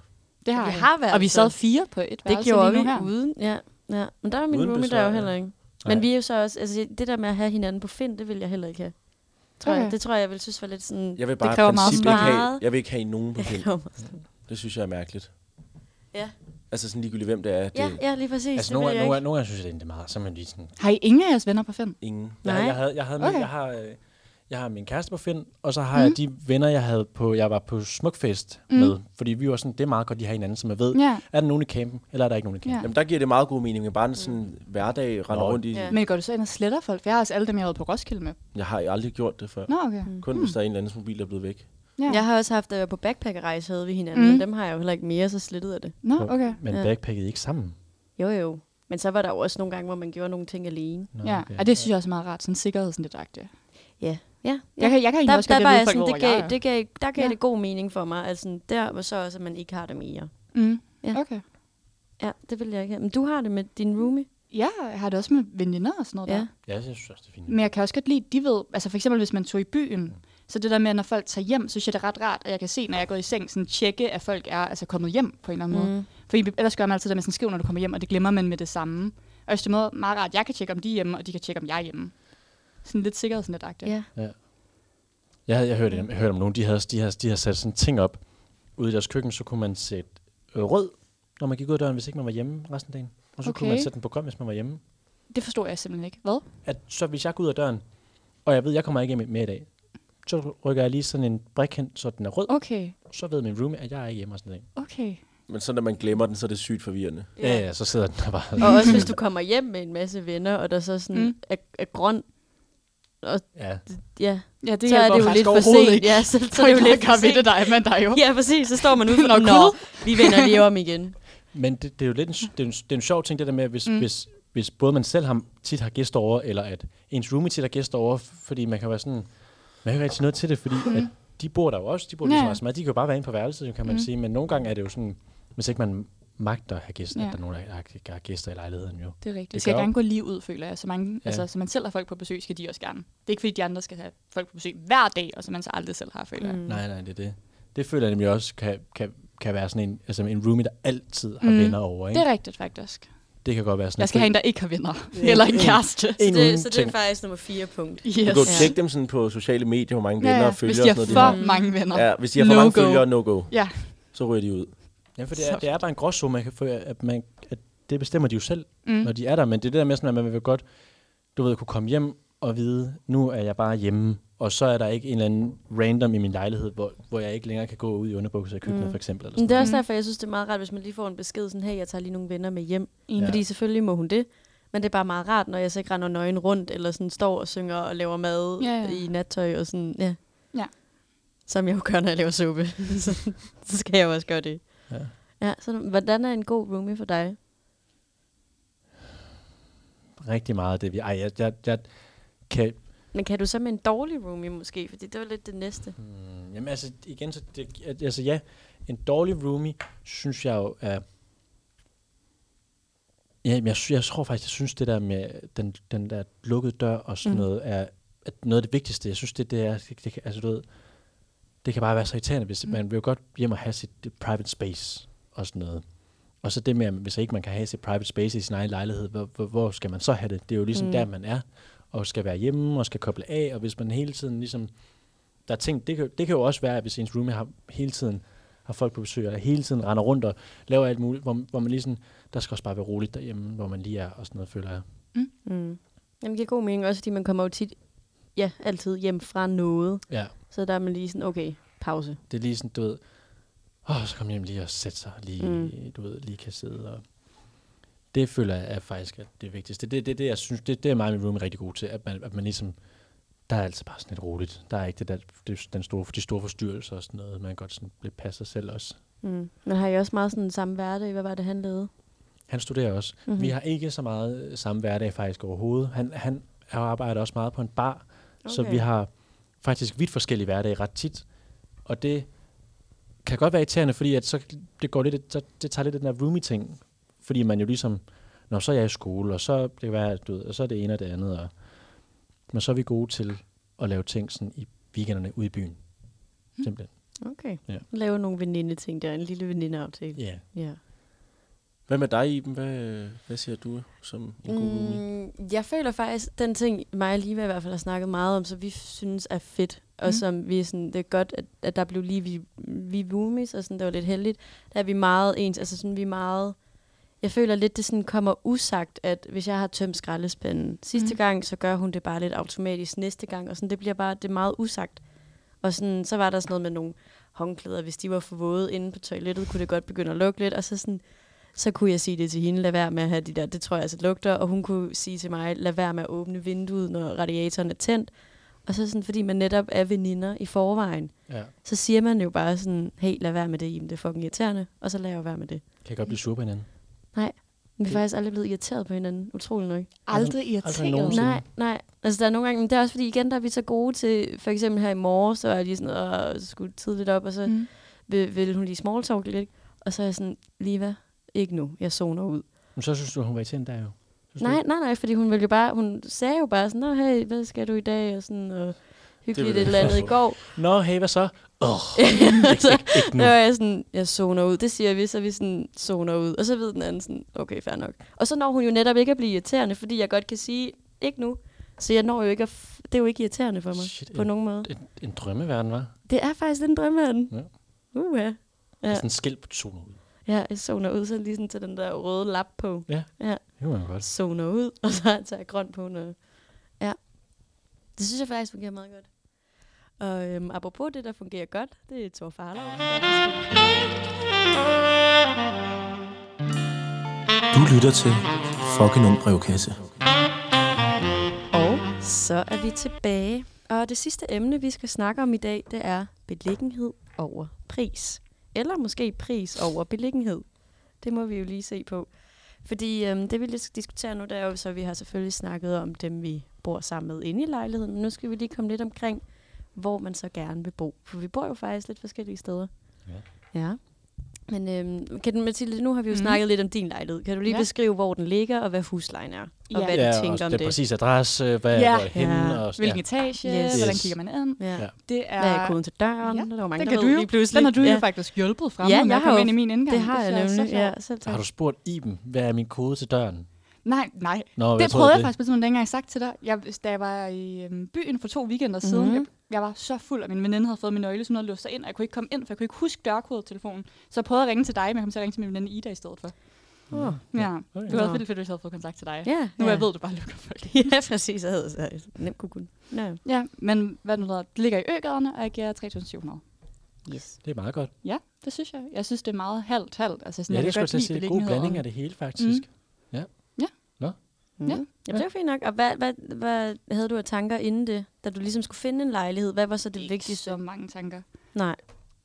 Speaker 5: Det har
Speaker 3: Vi
Speaker 5: jeg.
Speaker 3: har været
Speaker 5: Og vi
Speaker 3: så.
Speaker 5: sad fire på et
Speaker 3: Det
Speaker 5: værelse
Speaker 3: gjorde vi
Speaker 5: lige nu her.
Speaker 3: uden, ja. ja. Men der var min
Speaker 6: Uden
Speaker 3: roomie der
Speaker 6: besvær,
Speaker 3: jo
Speaker 6: ja.
Speaker 3: heller ikke.
Speaker 4: Nej.
Speaker 3: Men vi er jo så også, altså det der med at have hinanden på find, det vil jeg heller ikke have. Tror okay.
Speaker 5: Okay.
Speaker 3: jeg. Det tror jeg, jeg vil synes var lidt sådan...
Speaker 6: Jeg vil bare
Speaker 5: kræver
Speaker 6: i
Speaker 5: meget
Speaker 6: princippet ikke have,
Speaker 3: smart.
Speaker 6: jeg vil ikke have nogen på
Speaker 3: Jeg
Speaker 6: film.
Speaker 3: kommer sådan.
Speaker 6: Det synes jeg er mærkeligt.
Speaker 3: Ja.
Speaker 6: Altså sådan ligegyldigt, hvem det er. Det
Speaker 3: Ja,
Speaker 6: er
Speaker 3: ja, lige præcis.
Speaker 4: Altså,
Speaker 3: det
Speaker 4: nogle,
Speaker 3: vil
Speaker 4: gange-
Speaker 3: jeg
Speaker 4: nogle,
Speaker 3: ikke.
Speaker 4: gange- nogle gange synes jeg, det er meget. Så er man lige sådan...
Speaker 5: Har I ingen af jeres venner på fem?
Speaker 6: ingen.
Speaker 4: Jeg,
Speaker 3: Nej.
Speaker 4: jeg, havde, jeg, havde,
Speaker 5: Okay.
Speaker 4: jeg, har, øh, Jeg har min kæreste på Finn, og så har mm. jeg de venner, jeg havde på, jeg var på Smukfest mm. med. Fordi vi var sådan, det er meget godt, de har hinanden, som jeg ved.
Speaker 5: Ja.
Speaker 4: Er der nogen i campen, eller er der ikke nogen i campen?
Speaker 5: Ja.
Speaker 6: Jamen, der giver det meget god mening, at bare en sådan hverdag render
Speaker 4: Nå.
Speaker 6: rundt i...
Speaker 3: Ja.
Speaker 5: Men går du så ind og sletter folk? For jeg har også alle dem, jeg har været på Roskilde med.
Speaker 6: Jeg har aldrig gjort det før.
Speaker 5: Nå, okay. Mm.
Speaker 6: Kun hvis der er en eller andens mobil, der er blevet væk.
Speaker 5: Ja.
Speaker 3: Jeg har også haft øh, på backpackerrejse havde vi hinanden,
Speaker 5: Mm.
Speaker 3: mm. men dem har jeg jo heller ikke mere, så slittede jeg det.
Speaker 5: Nå, okay.
Speaker 4: Men
Speaker 3: Ja.
Speaker 4: backpackede I ikke sammen?
Speaker 3: Jo, jo. Men så var der jo også nogle gange, hvor man gjorde nogle ting alene.
Speaker 4: Nå,
Speaker 5: Ja,
Speaker 4: okay.
Speaker 5: og det synes jeg også er meget rart, sådan sikkerhedsnetagtigt.
Speaker 3: Ja, ja. ja.
Speaker 5: Jeg kan, jeg kan egentlig
Speaker 3: der,
Speaker 5: også godt
Speaker 3: der
Speaker 5: lide
Speaker 3: var
Speaker 5: at
Speaker 3: jeg
Speaker 5: vide folk,
Speaker 3: sådan,
Speaker 5: hvor
Speaker 3: det
Speaker 5: jeg
Speaker 3: gav,
Speaker 5: er.
Speaker 3: det gav, der gav
Speaker 5: Ja.
Speaker 3: ja. det god mening for mig. Altså, der var så også, at man ikke har det mere.
Speaker 5: Mm.
Speaker 3: Ja.
Speaker 5: Okay.
Speaker 3: Ja, det vil jeg ikke have. Men du har det med din roomie?
Speaker 5: Ja, jeg har det også med veninder og sådan noget ja. der.
Speaker 3: Ja.
Speaker 4: Ja, jeg synes også, det er fint.
Speaker 5: Men jeg kan også godt lide, de ved, altså for eksempel hvis man tog i byen, så det der med, at når folk tager hjem, synes jeg det er ret rart, at jeg kan se, når jeg går i seng, sådan tjekke, at folk er altså kommet hjem på en eller anden mm. måde. For ellers gør man altid det, at man sådan skriver, når du kommer hjem, og det glemmer man med det samme. Og i den måde, meget rart, jeg kan tjekke, om de er hjemme, og de kan tjekke, om jeg er hjemme. Sådan lidt sikkerhedsnetagtigt.
Speaker 3: Ja.
Speaker 4: Jeg, havde, jeg, hørte, jeg hørte om nogen, de havde, de, havde, de havde sat sådan ting op ude i deres køkken, så kunne man sætte øh, rød, når man gik ud af døren, hvis ikke man var hjemme resten af dagen. Og så okay. kunne man
Speaker 5: Okay.
Speaker 4: sætte den på grøn, hvis man var hjemme.
Speaker 5: Det forstår jeg simpelthen ikke. Hvad?
Speaker 4: At, så hvis jeg går ud af døren, og jeg ved, jeg kommer ikke hjem mere i dag, så rykker jeg lige sådan en brik hen, så den er rød,
Speaker 5: Okay,
Speaker 4: så ved min roomie, at jeg er ikke hjemme resten af dagen.
Speaker 5: okay.
Speaker 6: Men så når man glemmer den, så er det sygt forvirrende.
Speaker 4: Ja, ja, så sidder den der bare.
Speaker 3: Og også hvis du kommer hjem med en masse venner, og der så sådan
Speaker 5: Mm.
Speaker 3: mm. er, er grøn, og
Speaker 4: Ja.
Speaker 3: ja,
Speaker 5: Ja, det
Speaker 3: så er det jo lidt for sent. Ja, så, så
Speaker 5: Så
Speaker 3: er det jo lidt
Speaker 5: for
Speaker 3: for sent.
Speaker 5: dig, men der er jo.
Speaker 3: Ja, præcis. Så står man ude for,
Speaker 5: Nå,
Speaker 3: nå, vi vender lige om igen.
Speaker 4: Men det, det, er jo lidt en, s- det er en, s- det er en sjov ting, det der med, hvis,
Speaker 5: Mm.
Speaker 4: mm. hvis, hvis både man selv har, tit har gæster over, eller at ens roomie tit har gæster over, f- fordi man kan være sådan, man kan ikke rigtig noget til det, fordi at de bor der jo også, de bor
Speaker 5: Mm. Ja.
Speaker 4: ligesom os, men de kan jo bare være inde på værelset, kan man
Speaker 5: Mm.
Speaker 4: sige, men nogle gange er det jo sådan, hvis ikke man magter at have gæster,
Speaker 5: Ja.
Speaker 4: ja. at der er nogen, der har, der har gæster i lejligheden jo.
Speaker 5: Det er rigtigt. Det
Speaker 4: Det
Speaker 5: skal
Speaker 4: gør
Speaker 5: gerne gå lige ud, føler jeg. Så, mange, ja.
Speaker 4: Ja.
Speaker 5: altså, så man selv har folk på besøg, skal de også gerne. Det er ikke fordi, de andre skal have folk på besøg hver dag, og så man så aldrig selv har, føler jeg.
Speaker 4: Mm. Nej, nej, det er det. Det føler jeg nemlig også kan, kan, kan være sådan en, altså en roomie, der altid har
Speaker 5: Mm.
Speaker 4: mm. venner over, ikke?
Speaker 5: Det
Speaker 4: Det,
Speaker 5: er rigtigt, faktisk.
Speaker 4: det kan godt være sådan
Speaker 5: Jeg skal have en, der ikke har venner. Eller en kæreste.
Speaker 4: en
Speaker 3: Så det,
Speaker 4: uden
Speaker 3: så det er
Speaker 4: ting.
Speaker 3: faktisk nummer fire punkt.
Speaker 6: Du
Speaker 5: Yes.
Speaker 6: kan jo tjekke dem sådan på sociale medier, hvor mange venner og følgere
Speaker 5: Hvis de
Speaker 6: og
Speaker 5: har
Speaker 6: sådan
Speaker 5: for
Speaker 6: noget. de
Speaker 5: mange venner.
Speaker 6: har. Ja, hvis de har for mange
Speaker 5: No-go.
Speaker 6: følgere, no go.
Speaker 5: Ja.
Speaker 6: Så ryger de ud.
Speaker 4: Ja, for det er, det er bare en gråzone, man kan få, at, man, at det bestemmer de jo selv, mm.
Speaker 5: Mm.
Speaker 4: når de er der. Men det er det der med, sådan, at man vil godt du ved, kunne komme hjem og vide, nu er jeg bare hjemme, og så er der ikke en eller anden random i min lejlighed, hvor, hvor jeg ikke længere kan gå ud i underbukser i køkkenet, mm. for eksempel. Eller
Speaker 3: Men
Speaker 4: sådan.
Speaker 3: det er også
Speaker 5: Mm.
Speaker 3: derfor, jeg synes, det er meget rart, hvis man lige får en besked sådan, hey, jeg tager lige nogle venner med hjem.
Speaker 5: Enig.
Speaker 3: Ja. Fordi selvfølgelig må hun det. Men det er bare meget rart, når jeg så ikke render nøgen rundt, eller sådan står og synger og laver mad
Speaker 5: Ja,
Speaker 3: ja,
Speaker 5: ja.
Speaker 3: ja. i nattøj og sådan, ja.
Speaker 5: Ja.
Speaker 3: Som jeg jo gør, når jeg laver suppe. så, så skal jeg jo også gøre det.
Speaker 4: Ja.
Speaker 3: Ja, så hvordan er en god roomie for dig?
Speaker 4: Rigtig meget af det. Vi, ej, jeg, jeg, jeg kan...
Speaker 3: Men kan du så med en dårlig roomie måske? Fordi det var lidt det næste.
Speaker 4: Mm, jamen altså, igen, så det, at- altså ja, en dårlig roomie, synes jeg jo er... Ja, men jeg, sy- jeg tror faktisk, jeg synes det der med den, den der lukkede dør og sådan
Speaker 3: Mm.
Speaker 4: mm. noget, er at noget af det vigtigste. Jeg synes, det, det er, det, det, kan- altså, du ved, det kan bare være så irriterende, hvis mm. man vil jo godt hjem og have sit øh, private space og sådan noget. Og så det med, at hvis ikke man kan have sit private space i sin egen lejlighed, hvor, hvor, hvor skal man så have det? Det er jo ligesom mm. der, man er, og skal være hjemme, og skal koble af, og hvis man hele tiden ligesom, der er ting, det kan, det kan jo også være, at hvis ens roomie har hele tiden har folk på besøg, og hele tiden render rundt og laver alt muligt, hvor, hvor man lige sådan, der skal også bare være roligt derhjemme, hvor man lige er, og sådan noget, føler jeg.
Speaker 3: Mm. Jamen, det giver god mening også, fordi man kommer jo tit, ja, altid hjem fra noget.
Speaker 4: Ja,
Speaker 3: Så der er man lige sådan, okay, pause.
Speaker 4: det er lige sådan, du ved, åh, så kommer jeg hjem lige og sætter sig, og lige,
Speaker 3: Mm.
Speaker 4: mm. du ved, lige kan sidde og... Det føler jeg er faktisk at det vigtigste. Det er det, det, jeg synes, det, det er mig og min roomie rigtig god til, at man, at man ligesom, der er altid bare sådan lidt roligt. Der er ikke det der, det, den store, de store forstyrrelser og sådan noget. Man kan godt sådan lidt passe sig selv også.
Speaker 3: Mm. Men har I også meget sådan samme hverdag? Hvad var det, han lavede?
Speaker 4: Han studerer også.
Speaker 3: Mhm.
Speaker 4: Mm-hmm. Vi har ikke så meget øh, samme hverdag faktisk overhovedet. Han, han arbejder også meget på en bar, okay. så
Speaker 3: Okay.
Speaker 4: vi har faktisk vidt forskellige hverdage ret tit. Og det kan godt være irriterende, fordi at så det, går lidt, så det tager lidt af den der roomie-ting. Fordi man jo ligesom, når så er jeg i skole, og så, det kan være, at du ved, og så er det ene og det andet. Og, men så er vi gode til at lave ting sådan i weekenderne ude i byen.
Speaker 3: Hmm.
Speaker 4: Simpelthen.
Speaker 3: Okay.
Speaker 4: Ja.
Speaker 3: Lave nogle veninde-ting der, en lille venindeaftale.
Speaker 4: Ja. Yeah.
Speaker 3: Ja.
Speaker 6: Hvad med dig, Iben? Hvad, hvad siger du som en god roomie?
Speaker 3: Mm, jeg føler faktisk, den ting, mig og Liva i hvert fald har snakket meget om, så vi synes er fedt, og
Speaker 5: Mm.
Speaker 3: mm. som vi er sådan, det er godt, at, at der blev lige, vi, vi er roomies, og sådan, det var lidt heldigt, der er vi meget ens, altså sådan, vi er meget, Jeg føler lidt, det sådan kommer usagt, at hvis jeg har tømt skraldespanden sidste
Speaker 5: Mm.
Speaker 3: mm. gang, så gør hun det bare lidt automatisk næste gang, og sådan, det bliver bare, det er meget usagt. Og sådan, så var der sådan noget med nogle håndklæder, hvis de var for våde inde på toilettet, kunne det godt begynde at lugte lidt, og så sådan, så kunne jeg sige det til hende, lad være med at have de der, det tror jeg altså lugter, og hun kunne sige til mig, lad være med at åbne vinduet, når radiatoren er tændt. Og så sådan, fordi man netop er veninder i forvejen,
Speaker 4: Ja.
Speaker 3: så siger man jo bare sådan, hey, lad være med det, Iben, det er fucking irriterende, og så lader jeg jo være med det.
Speaker 4: Kan jeg godt blive sur på hinanden?
Speaker 3: Men vi er faktisk aldrig blevet irriteret på hinanden, utrolig nok.
Speaker 5: Aldrig irriteret.
Speaker 4: nogensinde.
Speaker 3: Nej, nej. Altså, der er nogle gange, men det er også fordi, igen, der er vi så gode til, for eksempel her i morges, så er jeg lige sådan, og skulle tidligt op, og så
Speaker 5: Mm.
Speaker 3: vil, vil hun lige small talk lidt, og så er jeg sådan, Liva, ikke nu, jeg zoner ud.
Speaker 4: Men så synes du, hun var irriterende der jo. Synes du
Speaker 3: Nej,
Speaker 4: ikke?
Speaker 3: nej, nej, fordi hun ville jo bare, hun sagde jo bare sådan, nå hey, hvad skal du i dag, og sådan, og hyggeligt
Speaker 6: ville jeg
Speaker 3: et eller andet i
Speaker 6: forstå.
Speaker 3: går.
Speaker 4: Nå, hey, hvad så?
Speaker 3: så,
Speaker 4: Ikke
Speaker 3: der var jeg sådan, jeg zoner ud, det siger vi, så vi sådan zoner ud, og så ved den anden sådan, okay, fair nok. Og så når hun jo netop ikke at blive irriterende, fordi jeg godt kan sige, ikke nu, så jeg når jo ikke at, f- det er jo ikke irriterende for mig,
Speaker 4: Shit,
Speaker 3: Shit, på
Speaker 4: ja.
Speaker 3: nogen måde.
Speaker 4: En, en drømmeverden, var.
Speaker 3: Det er faktisk lidt en drømmeverden.
Speaker 4: Ja.
Speaker 3: Ja. Uh, ja.
Speaker 4: Ja.
Speaker 3: Ja.
Speaker 4: Sådan Altså, en skilt på zoner ud.
Speaker 3: ja, jeg zoner ud, så lige sådan til den der røde lap på.
Speaker 4: Det kunne man godt.
Speaker 3: Zoner ud, og så tager jeg grøn på. Når... Ja. Det synes jeg faktisk fungerer meget godt. Og øhm, apropos det, der fungerer godt, det er Thor Farlow.
Speaker 2: Du lytter til Fucking Ung Brevkasse.
Speaker 3: Og så er vi tilbage. Og det sidste emne, vi skal snakke om i dag, det er beliggenhed over pris. Eller måske pris over beliggenhed. Det må vi jo lige se på. Fordi øhm, det, vi lige skal diskutere nu, det er jo så, at vi har selvfølgelig snakket om dem, vi bor sammen med inde i lejligheden. Men nu skal vi lige komme lidt omkring, hvor man så gerne vil bo. For vi bor jo faktisk lidt forskellige steder. Ja. ja. Men øhm, kan, du- Mathilde, nu har vi jo mm.
Speaker 5: Mhm.
Speaker 3: snakket lidt om din lejlighed. Kan du lige ja.
Speaker 5: Ja.
Speaker 3: beskrive, hvor den ligger, og hvad huslejen er? Og
Speaker 5: Ja.
Speaker 3: hvad
Speaker 4: ja,
Speaker 3: du tænker
Speaker 4: og
Speaker 3: om
Speaker 4: det
Speaker 3: det?
Speaker 4: er præcis adresse, hvad ja.
Speaker 5: Ja.
Speaker 4: hvor er henne,
Speaker 3: Ja.
Speaker 4: og
Speaker 5: Hvilken etage,
Speaker 3: Yes.
Speaker 5: hvordan
Speaker 4: Yes.
Speaker 5: kigger man ind?
Speaker 3: Ja.
Speaker 4: Ja.
Speaker 5: Det er...
Speaker 3: Hvad er koden til døren?
Speaker 5: Ja,
Speaker 3: Der er jo mange,
Speaker 5: Den
Speaker 3: der
Speaker 5: kan
Speaker 3: ved
Speaker 5: du jo,
Speaker 3: lige pludselig.
Speaker 5: den har du
Speaker 3: ja.
Speaker 5: jo faktisk hjulpet frem,
Speaker 3: Ja,
Speaker 5: når
Speaker 3: jeg
Speaker 5: jeg
Speaker 3: har
Speaker 5: kom
Speaker 3: jo-
Speaker 5: ind i min indgang.
Speaker 3: Det har jeg
Speaker 5: synes er
Speaker 3: nemlig.
Speaker 5: så
Speaker 3: Ja,
Speaker 5: sjovt.
Speaker 3: selv
Speaker 4: Ja. Har
Speaker 3: tak.
Speaker 4: du spurgt Iben, hvad er min kode til døren?
Speaker 5: Nej, nej.
Speaker 4: Nå,
Speaker 5: Det
Speaker 4: troede
Speaker 5: prøvede jeg
Speaker 4: det.
Speaker 5: faktisk på sådan dengang, jeg sagt til dig. Jeg, da jeg var i øhm, byen for to weekender siden,
Speaker 3: Mhm.
Speaker 5: jeg, jeg var så fuld, og min veninde havde fået min nøgle, så hun havde låst sig ind, og jeg kunne ikke komme ind, for jeg kunne ikke huske dørkodetelefonen. Så jeg prøvede at ringe til dig, men jeg kom til at ringe til min veninde Ida i stedet for.
Speaker 3: Åh.
Speaker 5: Ja.
Speaker 4: Okay.
Speaker 5: Det var også
Speaker 3: Nå.
Speaker 5: vildt fedt, hvis jeg havde fået kontakt til dig.
Speaker 3: Ja,
Speaker 5: Nu
Speaker 3: ja.
Speaker 5: jeg ved du bare, lukker folk.
Speaker 3: Ja, præcis. Jeg havde så nemt kunne kunne. Ja.
Speaker 5: Ja, men hvad nu hedder, det ligger i øgaderne, og jeg giver 3.700.
Speaker 3: Yes.
Speaker 4: Det er meget godt.
Speaker 5: Ja, det synes jeg. Jeg synes, det er meget halvt, halvt. Altså, sådan,
Speaker 4: Ja,
Speaker 5: jeg
Speaker 4: det
Speaker 5: kan
Speaker 4: skulle jeg
Speaker 5: godt
Speaker 4: til at
Speaker 5: lide
Speaker 4: sige. God blanding
Speaker 5: beliggenheden.
Speaker 4: af det hele, faktisk. Mm.
Speaker 3: Mm. Ja. Jamen, det var fint nok. Og hvad, hvad, hvad havde du af tanker inden det, da du ligesom skulle finde en lejlighed? Hvad var så det
Speaker 5: Ikke
Speaker 3: vigtigste?
Speaker 5: så mange tanker.
Speaker 3: Nej.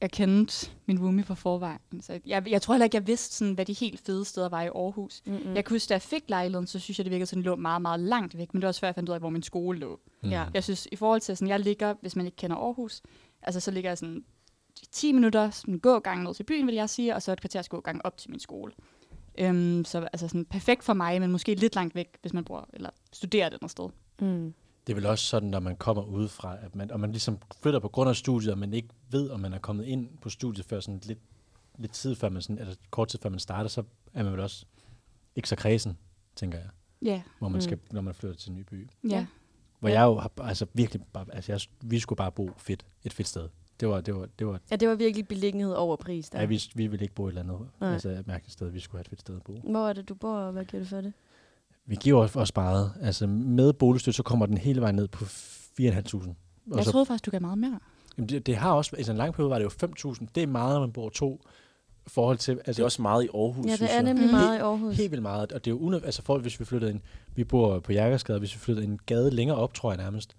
Speaker 5: Jeg kendte min roomie på forvejen, så jeg, jeg tror heller ikke, jeg vidste, sådan, hvad de helt fede steder var i Aarhus.
Speaker 3: Mm-mm.
Speaker 5: Mm. Jeg kunne huske, da jeg fik lejligheden, så synes jeg, det virkede sådan, det lå meget, meget langt væk. Men det var også før, jeg fandt ud af, hvor min skole lå.
Speaker 4: Mm.
Speaker 3: Ja.
Speaker 5: Jeg synes, i forhold til, sådan, jeg ligger, hvis man ikke kender Aarhus, altså så ligger jeg sådan 10 minutter sådan gågang ned til byen, vil jeg sige, og så et kvarters gågang op til min skole. Øhm, så altså sådan perfekt for mig, men måske lidt langt væk, hvis man bor eller studerer et andet sted.
Speaker 3: Mm.
Speaker 4: Det er vel også sådan, når man kommer udefra, at man, og man ligesom flytter på grund af studiet, og man ikke ved, om man er kommet ind på studiet før sådan lidt, lidt tid før man sådan, eller kort tid før man starter, så er man vel også ikke så kredsen, tænker jeg,
Speaker 5: Ja,
Speaker 4: hvor man
Speaker 3: Mm.
Speaker 4: skal, når man flytter til en ny by.
Speaker 5: ja.
Speaker 4: Hvor jeg jo har, altså virkelig, bare, altså jeg, vi skulle bare bo fedt, et fedt sted. Det var, det var, det var,
Speaker 3: Ja, det var virkelig beliggenhed over pris der.
Speaker 4: ja. vi, vi ville ikke bo et eller andet,
Speaker 3: Nej.
Speaker 4: altså et mærkeligt sted, vi skulle have et fedt sted at bo.
Speaker 3: Hvor er det, du bor, og hvad giver du for det?
Speaker 4: Vi giver os, os meget. Altså med boligstøtte, så kommer den hele vejen ned på 4.500. Og
Speaker 5: Jeg
Speaker 4: så,
Speaker 5: troede faktisk, du gav meget mere.
Speaker 4: jamen det, det, har også, altså en lang periode var det jo 5.000. Det er meget, når man bor to i forhold til, altså
Speaker 6: Det er også meget i Aarhus,
Speaker 3: Ja, det
Speaker 6: synes
Speaker 3: er
Speaker 6: jeg.
Speaker 3: nemlig
Speaker 5: Mm.
Speaker 3: meget i Aarhus.
Speaker 4: helt vildt meget. Og det er jo unød, altså for, hvis vi flyttede ind, vi bor på Jægersgade, hvis vi flyttede en gade længere op, tror jeg nærmest,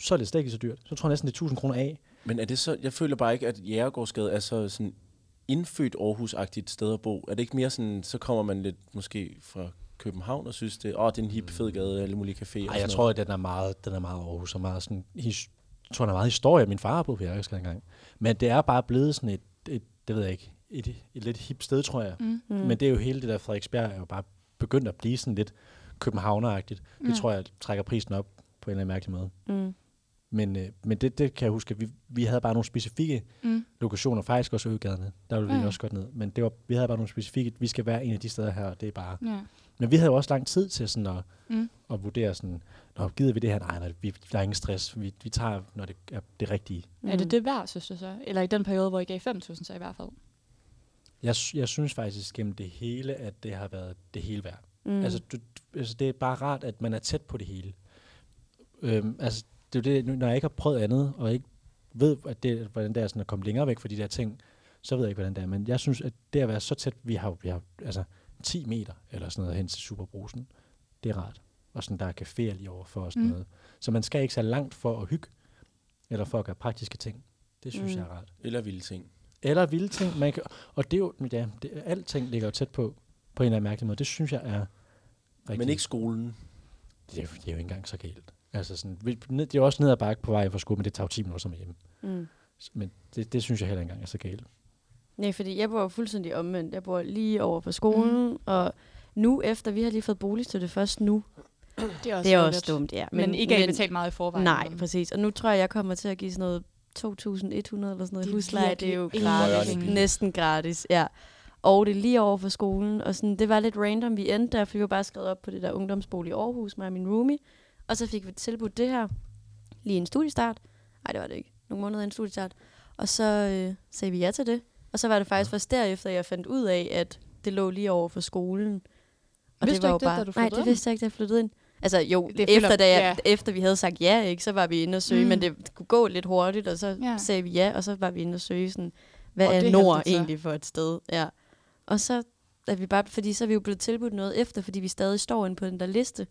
Speaker 4: så er det slet ikke så dyrt. Så tror jeg næsten, det er 1.000 kroner af.
Speaker 6: Men er det så, jeg føler bare ikke, at Jægergårdsgade er så sådan indfødt Aarhus-agtigt sted at bo. Er det ikke mere sådan, så kommer man lidt måske fra København og synes, det, åh, det er en hip fed gade, alle mulige caféer.
Speaker 4: Mm. Ej, jeg tror, at den er meget, den er meget Aarhus og meget sådan, his, jeg tror, den er meget historie. Min far har boet på Jægersgade engang. Men det er bare blevet sådan et, et det ved jeg ikke, et, et lidt hip sted, tror jeg. Mm. Mm. Men det er jo hele det der Frederiksberg er jo bare begyndt at blive sådan lidt københavneragtigt. Det tror jeg trækker prisen op på en eller anden mærkelig måde.
Speaker 3: Mm.
Speaker 4: Men, øh, men det, det kan jeg huske, at vi, vi havde bare nogle specifikke mm.
Speaker 5: Mm.
Speaker 4: lokationer, faktisk også Øgaderne, der ville vi
Speaker 5: Ja.
Speaker 4: også godt ned. Men det var, vi havde bare nogle specifikke, vi skal være en af de steder her, og det er bare
Speaker 5: Ja.
Speaker 4: men vi havde jo også lang tid til sådan at, mm.
Speaker 5: Mm.
Speaker 4: at vurdere sådan, Nå, gider vi det her? Nej, nej vi, der er ingen stress. Vi, vi tager, når det er det rigtige.
Speaker 5: Mm. Er det det værd, synes du så? Eller i den periode, hvor I gav 5.000, så i hvert fald.
Speaker 4: Jeg, sy- jeg synes faktisk gennem det hele, at det har været det hele værd.
Speaker 3: Mm.
Speaker 4: Mm. Altså, du, du- altså, det er bare rart, at man er tæt på det hele. Øhm, altså, det er jo det, nu, når jeg ikke har prøvet andet, og ikke ved, at det, hvordan det er sådan at komme længere væk fra de der ting, så ved jeg ikke, hvordan det er. Men jeg synes, at det at være så tæt, vi har, jo- vi har jo, altså 10 meter eller sådan noget hen til Superbrusen, det er rart. Og sådan, der er caféer lige overfor og sådan
Speaker 5: Mm.
Speaker 4: mm. noget. Så man skal ikke så langt for at hygge, eller for at gøre praktiske ting. Det synes
Speaker 3: Mm.
Speaker 4: mm. jeg er rart.
Speaker 6: Eller vilde ting.
Speaker 4: Eller vilde ting. Man kan, og det er jo, ja, det, alting ligger jo tæt på, på en eller anden mærkelig måde. Det synes jeg er rigtig.
Speaker 6: Men ikke skolen.
Speaker 4: det, er, jo- det er jo ikke engang så galt. Altså sådan, vi- ned- det er jo også ned ad bakke på vej fra skole, men det tager jo 10 minutter som hjemme.
Speaker 3: Mm.
Speaker 4: Men det, det synes jeg heller ikke engang er så galt.
Speaker 3: Nej, fordi jeg bor fuldstændig omvendt. Jeg bor lige over på skolen, mm. og nu efter, vi har lige fået boligstøtte først nu.
Speaker 5: Det er også,
Speaker 3: Det er
Speaker 5: ærgerligt.
Speaker 3: også dumt, ja.
Speaker 5: Men, men ikke men, betalt meget i forvejen.
Speaker 3: Nej, præcis. Og nu tror jeg, jeg kommer til at give sådan noget 2.100 eller sådan noget i
Speaker 5: Det er
Speaker 3: husleje. Det er jo
Speaker 5: virkelig
Speaker 3: gratis.
Speaker 6: ingenting.
Speaker 3: Næsten gratis, ja. Og det er lige over for skolen. Og sådan, det var lidt random, vi endte der, for vi var bare skrevet op på det der ungdomsbolig i Aarhus, mig og min roomie. Og så fik vi tilbudt det her lige en studiestart. Nej, det var det ikke. Nogle måneder inden studiestart. Og så øh, sagde vi ja til det. Og så var det faktisk først derefter, jeg fandt ud af, at det lå lige over for skolen. Og
Speaker 5: Vidste
Speaker 3: det var
Speaker 5: du
Speaker 3: jo bare...
Speaker 5: ikke det, da du
Speaker 3: Nej,
Speaker 5: flyttede
Speaker 3: det
Speaker 5: ind?
Speaker 3: vidste jeg ikke, da jeg flyttede ind. Altså jo,
Speaker 5: Det
Speaker 3: det
Speaker 5: føler-
Speaker 3: efter, da jeg,
Speaker 5: ja.
Speaker 3: efter vi havde sagt ja, ikke, så var vi inde og søge,
Speaker 5: Mm.
Speaker 3: mm. men det kunne gå lidt hurtigt, og så
Speaker 5: Ja.
Speaker 3: ja. sagde vi ja, og så var vi inde og søge sådan, hvad
Speaker 5: Og
Speaker 3: og
Speaker 5: det
Speaker 3: er
Speaker 5: er
Speaker 3: Nord
Speaker 5: heldigt så.
Speaker 3: egentlig for et sted? Ja. Og så er vi bare, fordi så er vi jo blevet tilbudt noget efter, fordi vi stadig står inde på den der liste.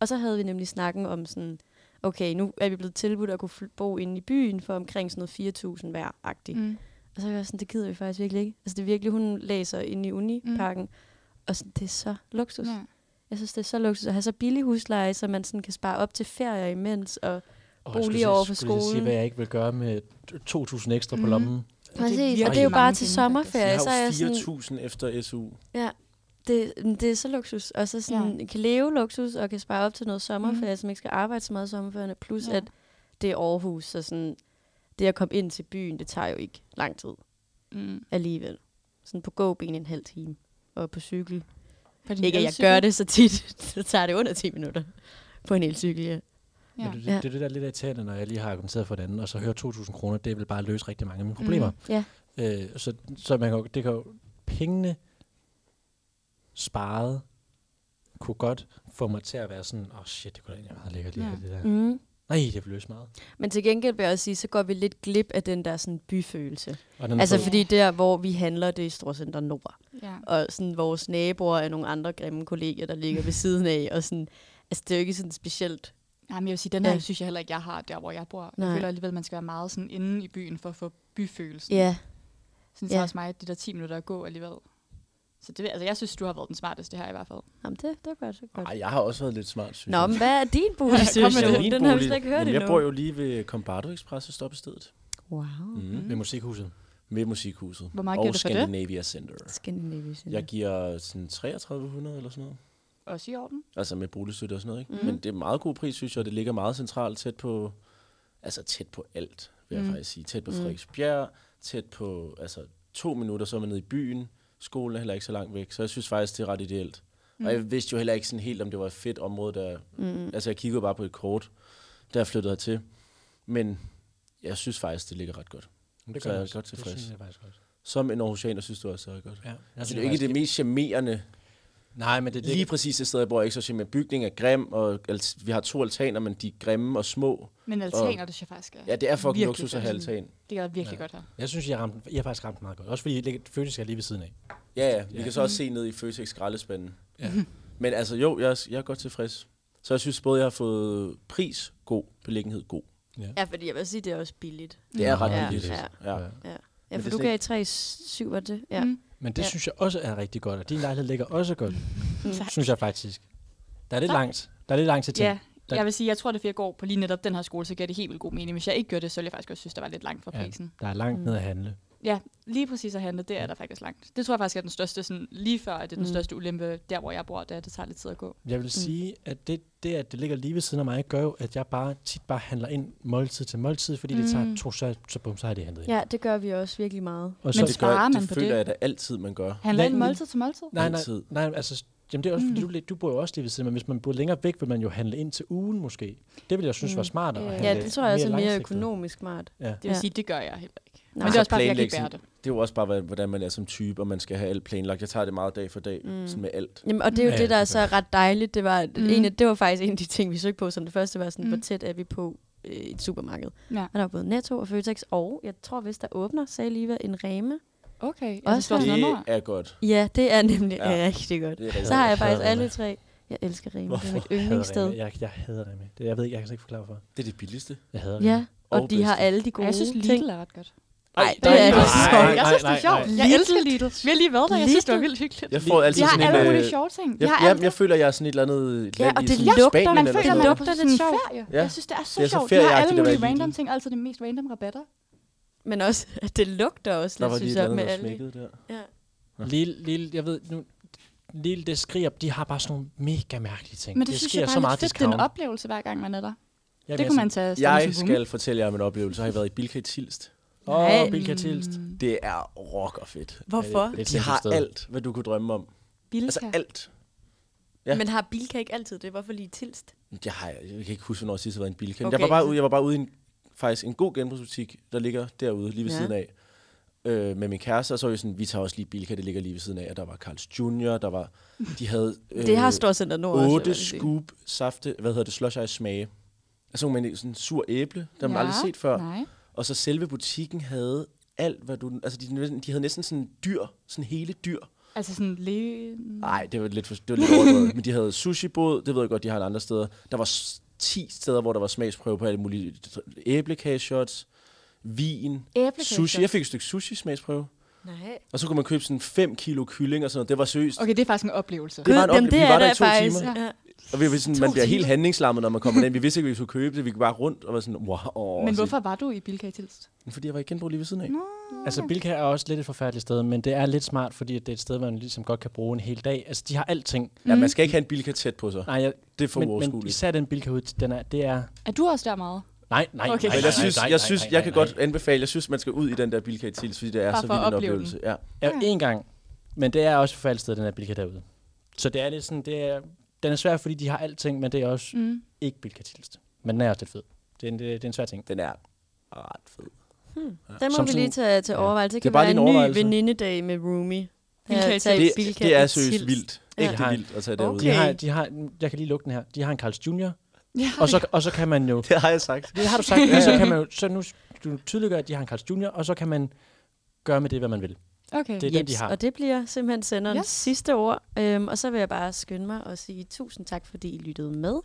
Speaker 3: Og så havde vi nemlig snakken om sådan, okay, nu er vi blevet tilbudt at kunne fl- bo inde i byen for omkring sådan noget 4.000 hver agtigt.
Speaker 5: Mm.
Speaker 3: Og så var jeg sådan, det gider vi faktisk virkelig ikke. Altså det er virkelig, hun læser inde i Uniparken, og sådan, det er så luksus.
Speaker 5: Mm. Ja.
Speaker 3: Jeg synes, det er så luksus at have så billig husleje, så man sådan kan spare op til ferier imens. Og
Speaker 4: Og jeg
Speaker 3: Bolig
Speaker 4: skulle til-
Speaker 3: over for
Speaker 4: skulle til at sige,
Speaker 3: skolen.
Speaker 4: hvad jeg ikke vil gøre med 2.000 ekstra på
Speaker 5: Mhm.
Speaker 4: lommen.
Speaker 3: Præcis,
Speaker 5: virkelig
Speaker 3: og det er jo
Speaker 5: mange
Speaker 3: bare
Speaker 5: penge,
Speaker 3: til
Speaker 5: faktisk.
Speaker 6: Jeg
Speaker 3: sommerferie, så er
Speaker 6: har jo
Speaker 3: jeg
Speaker 6: 4.000
Speaker 3: sådan,
Speaker 6: efter SU.
Speaker 3: ja, det, det er så luksus, og så sådan, ja. kan leve luksus, og kan spare op til noget sommerferie, mm. så man ikke skal arbejde så meget i sommerferien, plus
Speaker 5: Ja.
Speaker 3: ja. at det er Aarhus, så sådan, det at komme ind til byen, det tager jo ikke lang tid
Speaker 5: Mm.
Speaker 3: alligevel. Sådan på gåben en halv time, og på cykel.
Speaker 5: På din
Speaker 3: Ikke at jeg
Speaker 5: elcykel?
Speaker 3: gør det så tit, så tager det under 10 minutter på en elcykel, ja.
Speaker 5: Ja.
Speaker 4: Men det,
Speaker 3: Ja.
Speaker 4: det, det er det, der er lidt irriterende, når jeg lige har argumenteret for det andet, og så hører 2.000 kroner, det vil bare løse rigtig mange af mine problemer.
Speaker 3: Ja,
Speaker 4: Mm. Øh, så så man kan, jo- det kan jo, pengene sparet kunne godt få mig til at være sådan, åh oh shit, det kunne da egentlig være meget lækkert lige
Speaker 5: Ja.
Speaker 4: ja. det der. Mm.
Speaker 3: mm.
Speaker 4: Nej, det vil løse meget.
Speaker 3: Men til gengæld vil jeg også sige, så går vi lidt glip af den der sådan byfølelse.
Speaker 4: Og den
Speaker 3: Altså
Speaker 4: på-
Speaker 3: fordi der, hvor vi handler, det er i Storcenter Nord.
Speaker 5: Ja.
Speaker 3: Og sådan vores naboer er nogle andre grimme kolleger, der ligger ved siden af. Og sådan, altså det er jo ikke sådan specielt.
Speaker 5: Nej, men jeg vil sige, den her
Speaker 3: Ja.
Speaker 5: synes jeg heller ikke, jeg har der, hvor jeg bor. Jeg
Speaker 3: Nej.
Speaker 5: føler alligevel, man skal være meget sådan inde i byen for at få byfølelsen.
Speaker 3: Ja,
Speaker 5: Sådan så
Speaker 3: Ja.
Speaker 5: også mig, at de der 10 minutter at gå alligevel. Så det, altså, jeg synes, du har været den smarteste her i hvert fald.
Speaker 3: Jamen, det, det er godt. Det er godt.
Speaker 6: Ej, jeg har også været lidt smart, synes
Speaker 3: Nå,
Speaker 6: jeg.
Speaker 3: men hvad er din
Speaker 5: Ja,
Speaker 3: boligsituation?
Speaker 6: min
Speaker 3: den har vi
Speaker 6: bolig-
Speaker 3: slet ikke hørt
Speaker 6: Jamen,
Speaker 3: endnu.
Speaker 6: Jeg bor jo lige ved Combardo Express og stoppestedet.
Speaker 3: Wow.
Speaker 6: Mm.
Speaker 4: Ved musikhuset.
Speaker 6: Med Musikhuset.
Speaker 5: Hvor meget
Speaker 6: og
Speaker 5: giver du for det?
Speaker 6: Scandinavia Center.
Speaker 3: Scandinavia Center.
Speaker 6: Jeg giver sådan 3300 eller sådan noget.
Speaker 5: Også i orden.
Speaker 6: Altså med boligstøtte og sådan noget, ikke?
Speaker 3: Mhm.
Speaker 6: Mm. Men det er en meget god pris, synes jeg, og det ligger meget centralt tæt på, altså tæt på alt, vil jeg
Speaker 5: Mm.
Speaker 6: faktisk sige. Tæt på
Speaker 3: Mm.
Speaker 6: Frederiksbjerg, tæt på, altså to minutter, så er man nede i byen. Skolen er heller ikke så langt væk, så jeg synes faktisk, det er ret ideelt. Mm. Og jeg vidste jo heller ikke sådan helt, om det var et fedt område, der... Mm. Altså jeg kiggede bare på et kort, da jeg flyttede hertil. Men jeg synes faktisk, det ligger ret godt.
Speaker 4: Men Det
Speaker 6: Så er jeg
Speaker 4: også.
Speaker 6: godt tilfreds.
Speaker 4: Det synes jeg faktisk også.
Speaker 6: Som en Aarhusianer synes du også, det er godt.
Speaker 4: Ja.
Speaker 6: Jeg synes, det er jo ikke det mest charmerende
Speaker 4: Nej, men det, det,
Speaker 6: Lige præcis det sted, jeg bor, er ikke så simpelthen. Bygningen er grim, og alt- vi har to altaner, men de er grimme og små.
Speaker 5: Men altaner, det synes jeg faktisk er.
Speaker 6: Ja, det er fucking
Speaker 5: Virkelig
Speaker 6: luksus at have
Speaker 5: fedt.
Speaker 6: altan.
Speaker 5: Det er virkelig
Speaker 4: Ja.
Speaker 5: godt her.
Speaker 4: Jeg synes, jeg, ramte, jeg har faktisk ramt den meget godt. Også fordi det føles jeg lige ved siden af.
Speaker 6: Ja, ja. Vi kan så også se ned i Føtex skraldespanden.
Speaker 4: Ja.
Speaker 6: Men altså, jo, jeg er, jeg er godt tilfreds. Så jeg synes både, jeg har fået pris god, beliggenhed god.
Speaker 3: Ja, fordi jeg vil sige, det er også billigt.
Speaker 6: Det er
Speaker 4: Nå,
Speaker 6: ret
Speaker 3: ja,
Speaker 6: billigt.
Speaker 3: ja.
Speaker 6: Ja.
Speaker 4: Ja.
Speaker 3: Ja,
Speaker 6: Men
Speaker 3: for
Speaker 6: det er
Speaker 3: du
Speaker 6: slet
Speaker 3: gav 3,7, var det? Ja.
Speaker 5: Mm.
Speaker 4: Men det
Speaker 3: Ja.
Speaker 4: ja. synes jeg også er rigtig godt, og din lejlighed ligger også godt,
Speaker 3: Mm.
Speaker 5: Tak.
Speaker 4: synes jeg faktisk. Der er lidt
Speaker 5: Tak.
Speaker 4: langt. Der er lidt langt til ting.
Speaker 5: Ja,
Speaker 4: Ja. Der-
Speaker 5: jeg vil sige, jeg tror, det fik jeg går på lige netop den her skole, så gav det helt vildt god mening. Hvis jeg ikke gjorde det, så ville jeg faktisk også synes, der var lidt langt fra
Speaker 4: Ja.
Speaker 5: prisen.
Speaker 4: Der er langt
Speaker 3: Mm.
Speaker 4: ned at handle.
Speaker 5: Ja, lige præcis at handle, det er der faktisk langt. Det tror jeg faktisk er den største, sådan, lige før, at det er den
Speaker 3: Mm.
Speaker 5: største ulempe, der hvor jeg bor, det er, at det tager lidt tid at gå.
Speaker 4: Jeg vil sige, at det, det, at det ligger lige ved siden af mig, gør jo, at jeg bare tit bare handler ind måltid til måltid, fordi mm. det tager
Speaker 5: Mm.
Speaker 4: to, så, så, bum, så har det handlet ind.
Speaker 3: ja, det gør vi også virkelig meget.
Speaker 4: Og
Speaker 5: Men
Speaker 6: det
Speaker 5: sparer man
Speaker 6: det
Speaker 5: på
Speaker 6: føler
Speaker 5: det?
Speaker 6: jeg da altid, man gør.
Speaker 5: Handler
Speaker 4: Hvad-
Speaker 5: en måltid til måltid?
Speaker 4: nej, nej,
Speaker 6: altid.
Speaker 4: nej, altså, jamen det er også,
Speaker 5: Mm.
Speaker 4: mm. du, du bor jo også lige ved siden, af, men hvis man bor længere væk, vil man jo handle ind til ugen måske. Det vil jeg synes
Speaker 3: Mm.
Speaker 4: var smartere. at
Speaker 5: Ja,
Speaker 4: handle
Speaker 3: Ja, det tror jeg også er mere
Speaker 4: langsigtet.
Speaker 3: økonomisk smart.
Speaker 5: Det vil
Speaker 3: Ja.
Speaker 5: sige, det gør jeg heller ikke. Men det
Speaker 6: så
Speaker 5: er også bare, fordi jeg kan
Speaker 6: planlægge
Speaker 5: ikke bære det.
Speaker 6: sådan- Altså, Det er jo også bare, hvad- hvordan man er som type, og man skal have alt planlagt. Jeg tager det meget dag for dag, mm. sådan med alt.
Speaker 3: Jamen, og det er jo
Speaker 4: Ja,
Speaker 3: ja, det, der er så ret dejligt. Det var, mm.
Speaker 5: Mm.
Speaker 3: en af, det var faktisk en af de ting, vi søgte på, som det første var sådan, mm.
Speaker 5: Mm.
Speaker 3: hvor tæt er vi på øh, et supermarked.
Speaker 5: Ja.
Speaker 3: Og der var både Netto og Føtex, og jeg tror, hvis der åbner, sagde lige en Rema. Også
Speaker 5: Okay. Også altså,
Speaker 6: Det
Speaker 5: nummer.
Speaker 6: er godt.
Speaker 3: Ja, det er nemlig ja.
Speaker 6: Ja.
Speaker 3: rigtig godt.
Speaker 6: Det er rigtig
Speaker 3: Så har jeg
Speaker 4: Jeg
Speaker 3: faktisk
Speaker 4: hader
Speaker 3: alle
Speaker 4: Rema.
Speaker 3: tre. Jeg elsker Rema, det er
Speaker 4: Hvorfor
Speaker 3: mit
Speaker 4: hader
Speaker 3: yndlingssted.
Speaker 4: Rema? Jeg, jeg hader Rema. Det, jeg ved ikke, jeg kan slet ikke forklare for.
Speaker 6: Det er det billigste.
Speaker 4: Jeg hader
Speaker 3: Ja, og
Speaker 6: Og
Speaker 3: de har
Speaker 6: bedste.
Speaker 3: alle de gode
Speaker 5: Jeg synes,
Speaker 3: ting.
Speaker 5: Lidl er ret godt.
Speaker 3: Ej, det er det
Speaker 5: nej,
Speaker 3: så.
Speaker 5: Jeg synes, det er sjovt. Jeg
Speaker 3: Lidl.
Speaker 5: elsker Lidl. Vi har lige været der. Jeg synes, det var vildt hyggeligt.
Speaker 6: Jeg får altid
Speaker 5: De har
Speaker 6: sådan
Speaker 5: alle
Speaker 6: en,
Speaker 5: mulige
Speaker 6: øh,
Speaker 5: sjove ting. De
Speaker 6: Jeg,
Speaker 5: har
Speaker 6: jeg,
Speaker 5: alt
Speaker 6: jeg føler, jeg er sådan et eller andet
Speaker 3: Ja,
Speaker 6: land
Speaker 3: og
Speaker 6: i
Speaker 3: det
Speaker 6: sådan
Speaker 3: lugter-
Speaker 6: Spanien
Speaker 5: Man
Speaker 6: eller
Speaker 5: føler,
Speaker 6: sådan
Speaker 5: man
Speaker 6: noget.
Speaker 5: lugter
Speaker 3: lugter
Speaker 5: lidt
Speaker 3: lidt
Speaker 5: sjovt.
Speaker 3: sjovt.
Speaker 5: Ferie.
Speaker 6: Ja.
Speaker 5: Jeg synes, det er så
Speaker 6: Det er så
Speaker 5: sjovt. De har alle
Speaker 6: ferieagtigt at
Speaker 5: mulige
Speaker 6: være
Speaker 5: random
Speaker 6: Lidl.
Speaker 5: ting. altså Altid de mest random rabatter.
Speaker 3: Men også, at det lugter også
Speaker 6: Der
Speaker 3: lidt,
Speaker 6: var lige
Speaker 3: synes
Speaker 6: et
Speaker 3: jeg,
Speaker 6: eller
Speaker 3: med
Speaker 6: andet, der
Speaker 3: alle.
Speaker 6: smækkede der.
Speaker 4: Lille, lille, jeg ved nu, Lille, det skriger, de har bare sådan nogle mega mærkelige ting.
Speaker 5: Men det, synes jeg
Speaker 4: skriger
Speaker 5: bare
Speaker 4: så
Speaker 5: er
Speaker 4: meget
Speaker 5: lidt fedt. Det er
Speaker 4: discount.
Speaker 5: en oplevelse, hver gang man er der.
Speaker 4: Jamen,
Speaker 5: Det
Speaker 4: jeg
Speaker 5: kunne
Speaker 4: er
Speaker 5: man tage afsted med
Speaker 6: Jeg
Speaker 5: sin humle.
Speaker 6: skal fortælle jer om en oplevelse. Har jeg været i Bilka i Tilst?
Speaker 4: sådan, Åh,
Speaker 3: Nej.
Speaker 4: oh, Bilka Tilst.
Speaker 6: Det er rock og fedt.
Speaker 3: Hvorfor?
Speaker 4: Det er et
Speaker 6: De
Speaker 4: sindssygt
Speaker 6: har
Speaker 4: sted.
Speaker 6: alt, hvad du kunne drømme om. Altså
Speaker 5: Bilka.
Speaker 6: alt. Ja.
Speaker 3: Men har Bilka ikke altid det? Hvorfor lige tilst?
Speaker 6: Jeg, har, jeg kan ikke huske, hvornår jeg sidst har været i en bilka.
Speaker 3: Okay.
Speaker 6: Okay. Jeg, var bare ude, jeg var bare ude i en, faktisk en god genbrugsbutik, der ligger derude lige ved
Speaker 3: Ja.
Speaker 6: ja. siden af. Øh, med min kæreste, og så var vi sådan, vi tager også lige Bilka, det ligger lige ved siden af. Og der var Carl's Junior, der var, de havde øh,
Speaker 3: Det har Storcenter Nord også. øh, vil jeg
Speaker 6: otte
Speaker 3: sige.
Speaker 6: scoop safte, hvad hedder det, slush ice smage. Altså man sådan en sur æble, der har man
Speaker 5: Ja,
Speaker 6: aldrig set før.
Speaker 5: Nej.
Speaker 6: Og så selve butikken havde alt, hvad du... Altså, de, næsten- de havde næsten sådan dyr, sådan hele dyr.
Speaker 5: Altså sådan le... Mm.
Speaker 3: Mm.
Speaker 6: Nej, det var lidt, for, det var lidt overdrevet. Men de havde sushi-båd, det ved jeg godt, de har andre steder. Der var s- 10 steder, hvor der var smagsprøve på alle mulige æblekageshots, vin, sushi. Jeg fik et stykke sushi-smagsprøve.
Speaker 3: Nej.
Speaker 6: Og så kunne man købe sådan 5 kilo kylling og sådan noget. Det var seriøst.
Speaker 5: Okay, det er faktisk en oplevelse.
Speaker 6: Det var en
Speaker 3: Gud, jamen,
Speaker 6: oplevelse. Vi
Speaker 3: er
Speaker 6: var der i
Speaker 3: da
Speaker 6: to
Speaker 3: faktisk.
Speaker 6: timer.
Speaker 3: Ja.
Speaker 6: Og vi var sådan, man bliver helt handlingslammet, når man kommer ind. Vi vidste ikke, hvad vi skulle købe det. Vi gik bare rundt og var sådan, wow. Og
Speaker 5: Men
Speaker 6: så-
Speaker 5: hvorfor var du i Bilka i Tilst?
Speaker 6: Fordi jeg var i genbrug lige ved siden af.
Speaker 4: Altså, Bilka er også lidt et forfærdeligt sted, men det er lidt smart, fordi at det er et sted, hvor man ligesom godt kan bruge en hel dag. Altså, de har alting.
Speaker 6: Ja,
Speaker 5: Mm.
Speaker 6: man skal ikke have en bilka tæt på sig.
Speaker 4: Nej, jeg,
Speaker 6: Det er for
Speaker 4: men, men
Speaker 6: uoverskueligt.
Speaker 4: især den Bilka ud, den er, det er...
Speaker 5: Er du også der meget?
Speaker 4: Nej, nej,
Speaker 5: Okay.
Speaker 4: nej,
Speaker 6: Men
Speaker 4: nej,
Speaker 6: jeg synes,
Speaker 4: nej, nej,
Speaker 6: jeg, synes,
Speaker 4: nej,
Speaker 6: jeg kan
Speaker 4: nej,
Speaker 6: godt anbefale, jeg synes, man skal ud i den der Bilka i Tils, fordi det er
Speaker 5: Bare
Speaker 6: så
Speaker 5: for
Speaker 6: vild
Speaker 5: at
Speaker 6: en
Speaker 5: opleve
Speaker 6: oplevelse. Ja.
Speaker 4: Jeg var en gang, men det er også forfaldet sted, den her Bilka derude. Så det er lidt sådan, det er, den er svær, fordi de har alting, men det er også
Speaker 5: Mm.
Speaker 4: ikke Bilka Tilst. Men den er også lidt fed. Det er en, det, det er en svær ting.
Speaker 6: Den er ret fed.
Speaker 3: Den må
Speaker 4: Som
Speaker 3: vi
Speaker 4: sådan-
Speaker 3: lige tage til
Speaker 4: ja.
Speaker 3: overvejelse. Det
Speaker 6: Det er
Speaker 3: kan
Speaker 6: bare
Speaker 3: være
Speaker 6: lige
Speaker 3: en
Speaker 6: en
Speaker 3: ny
Speaker 6: overvejelse.
Speaker 3: venindedag med Roomy.
Speaker 5: Bilka i
Speaker 6: Det,
Speaker 5: Tilst.
Speaker 6: det er seriøst vildt.
Speaker 3: Ja.
Speaker 6: Ægte
Speaker 4: Det har-
Speaker 6: vildt at tage derud.
Speaker 4: De
Speaker 3: Okay.
Speaker 4: har, de har, jeg kan lige lukke den her. De har en Carl's Junior,
Speaker 5: Ja,
Speaker 4: og så, og så kan man jo...
Speaker 6: Det har jeg sagt.
Speaker 4: Det har du sagt, ja, så kan man jo... Så nu du tydeliggør, at de har en Carl's Junior, og så kan man gøre med det, hvad man vil.
Speaker 5: okay.
Speaker 4: Det er den, de har.
Speaker 3: Og det bliver simpelthen senderens yes.
Speaker 5: Yes.
Speaker 3: sidste ord. Øhm, og så vil jeg bare skynde mig og sige tusind tak, fordi I lyttede med.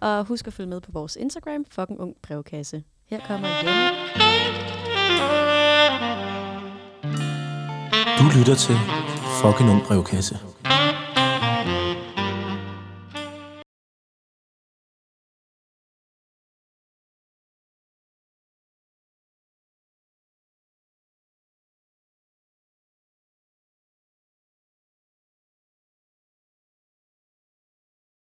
Speaker 3: Og husk at følge med på vores Instagram, fucking ung brevkasse. Her kommer hjemme.
Speaker 2: Du lytter til Fucking Ung Brevkasse.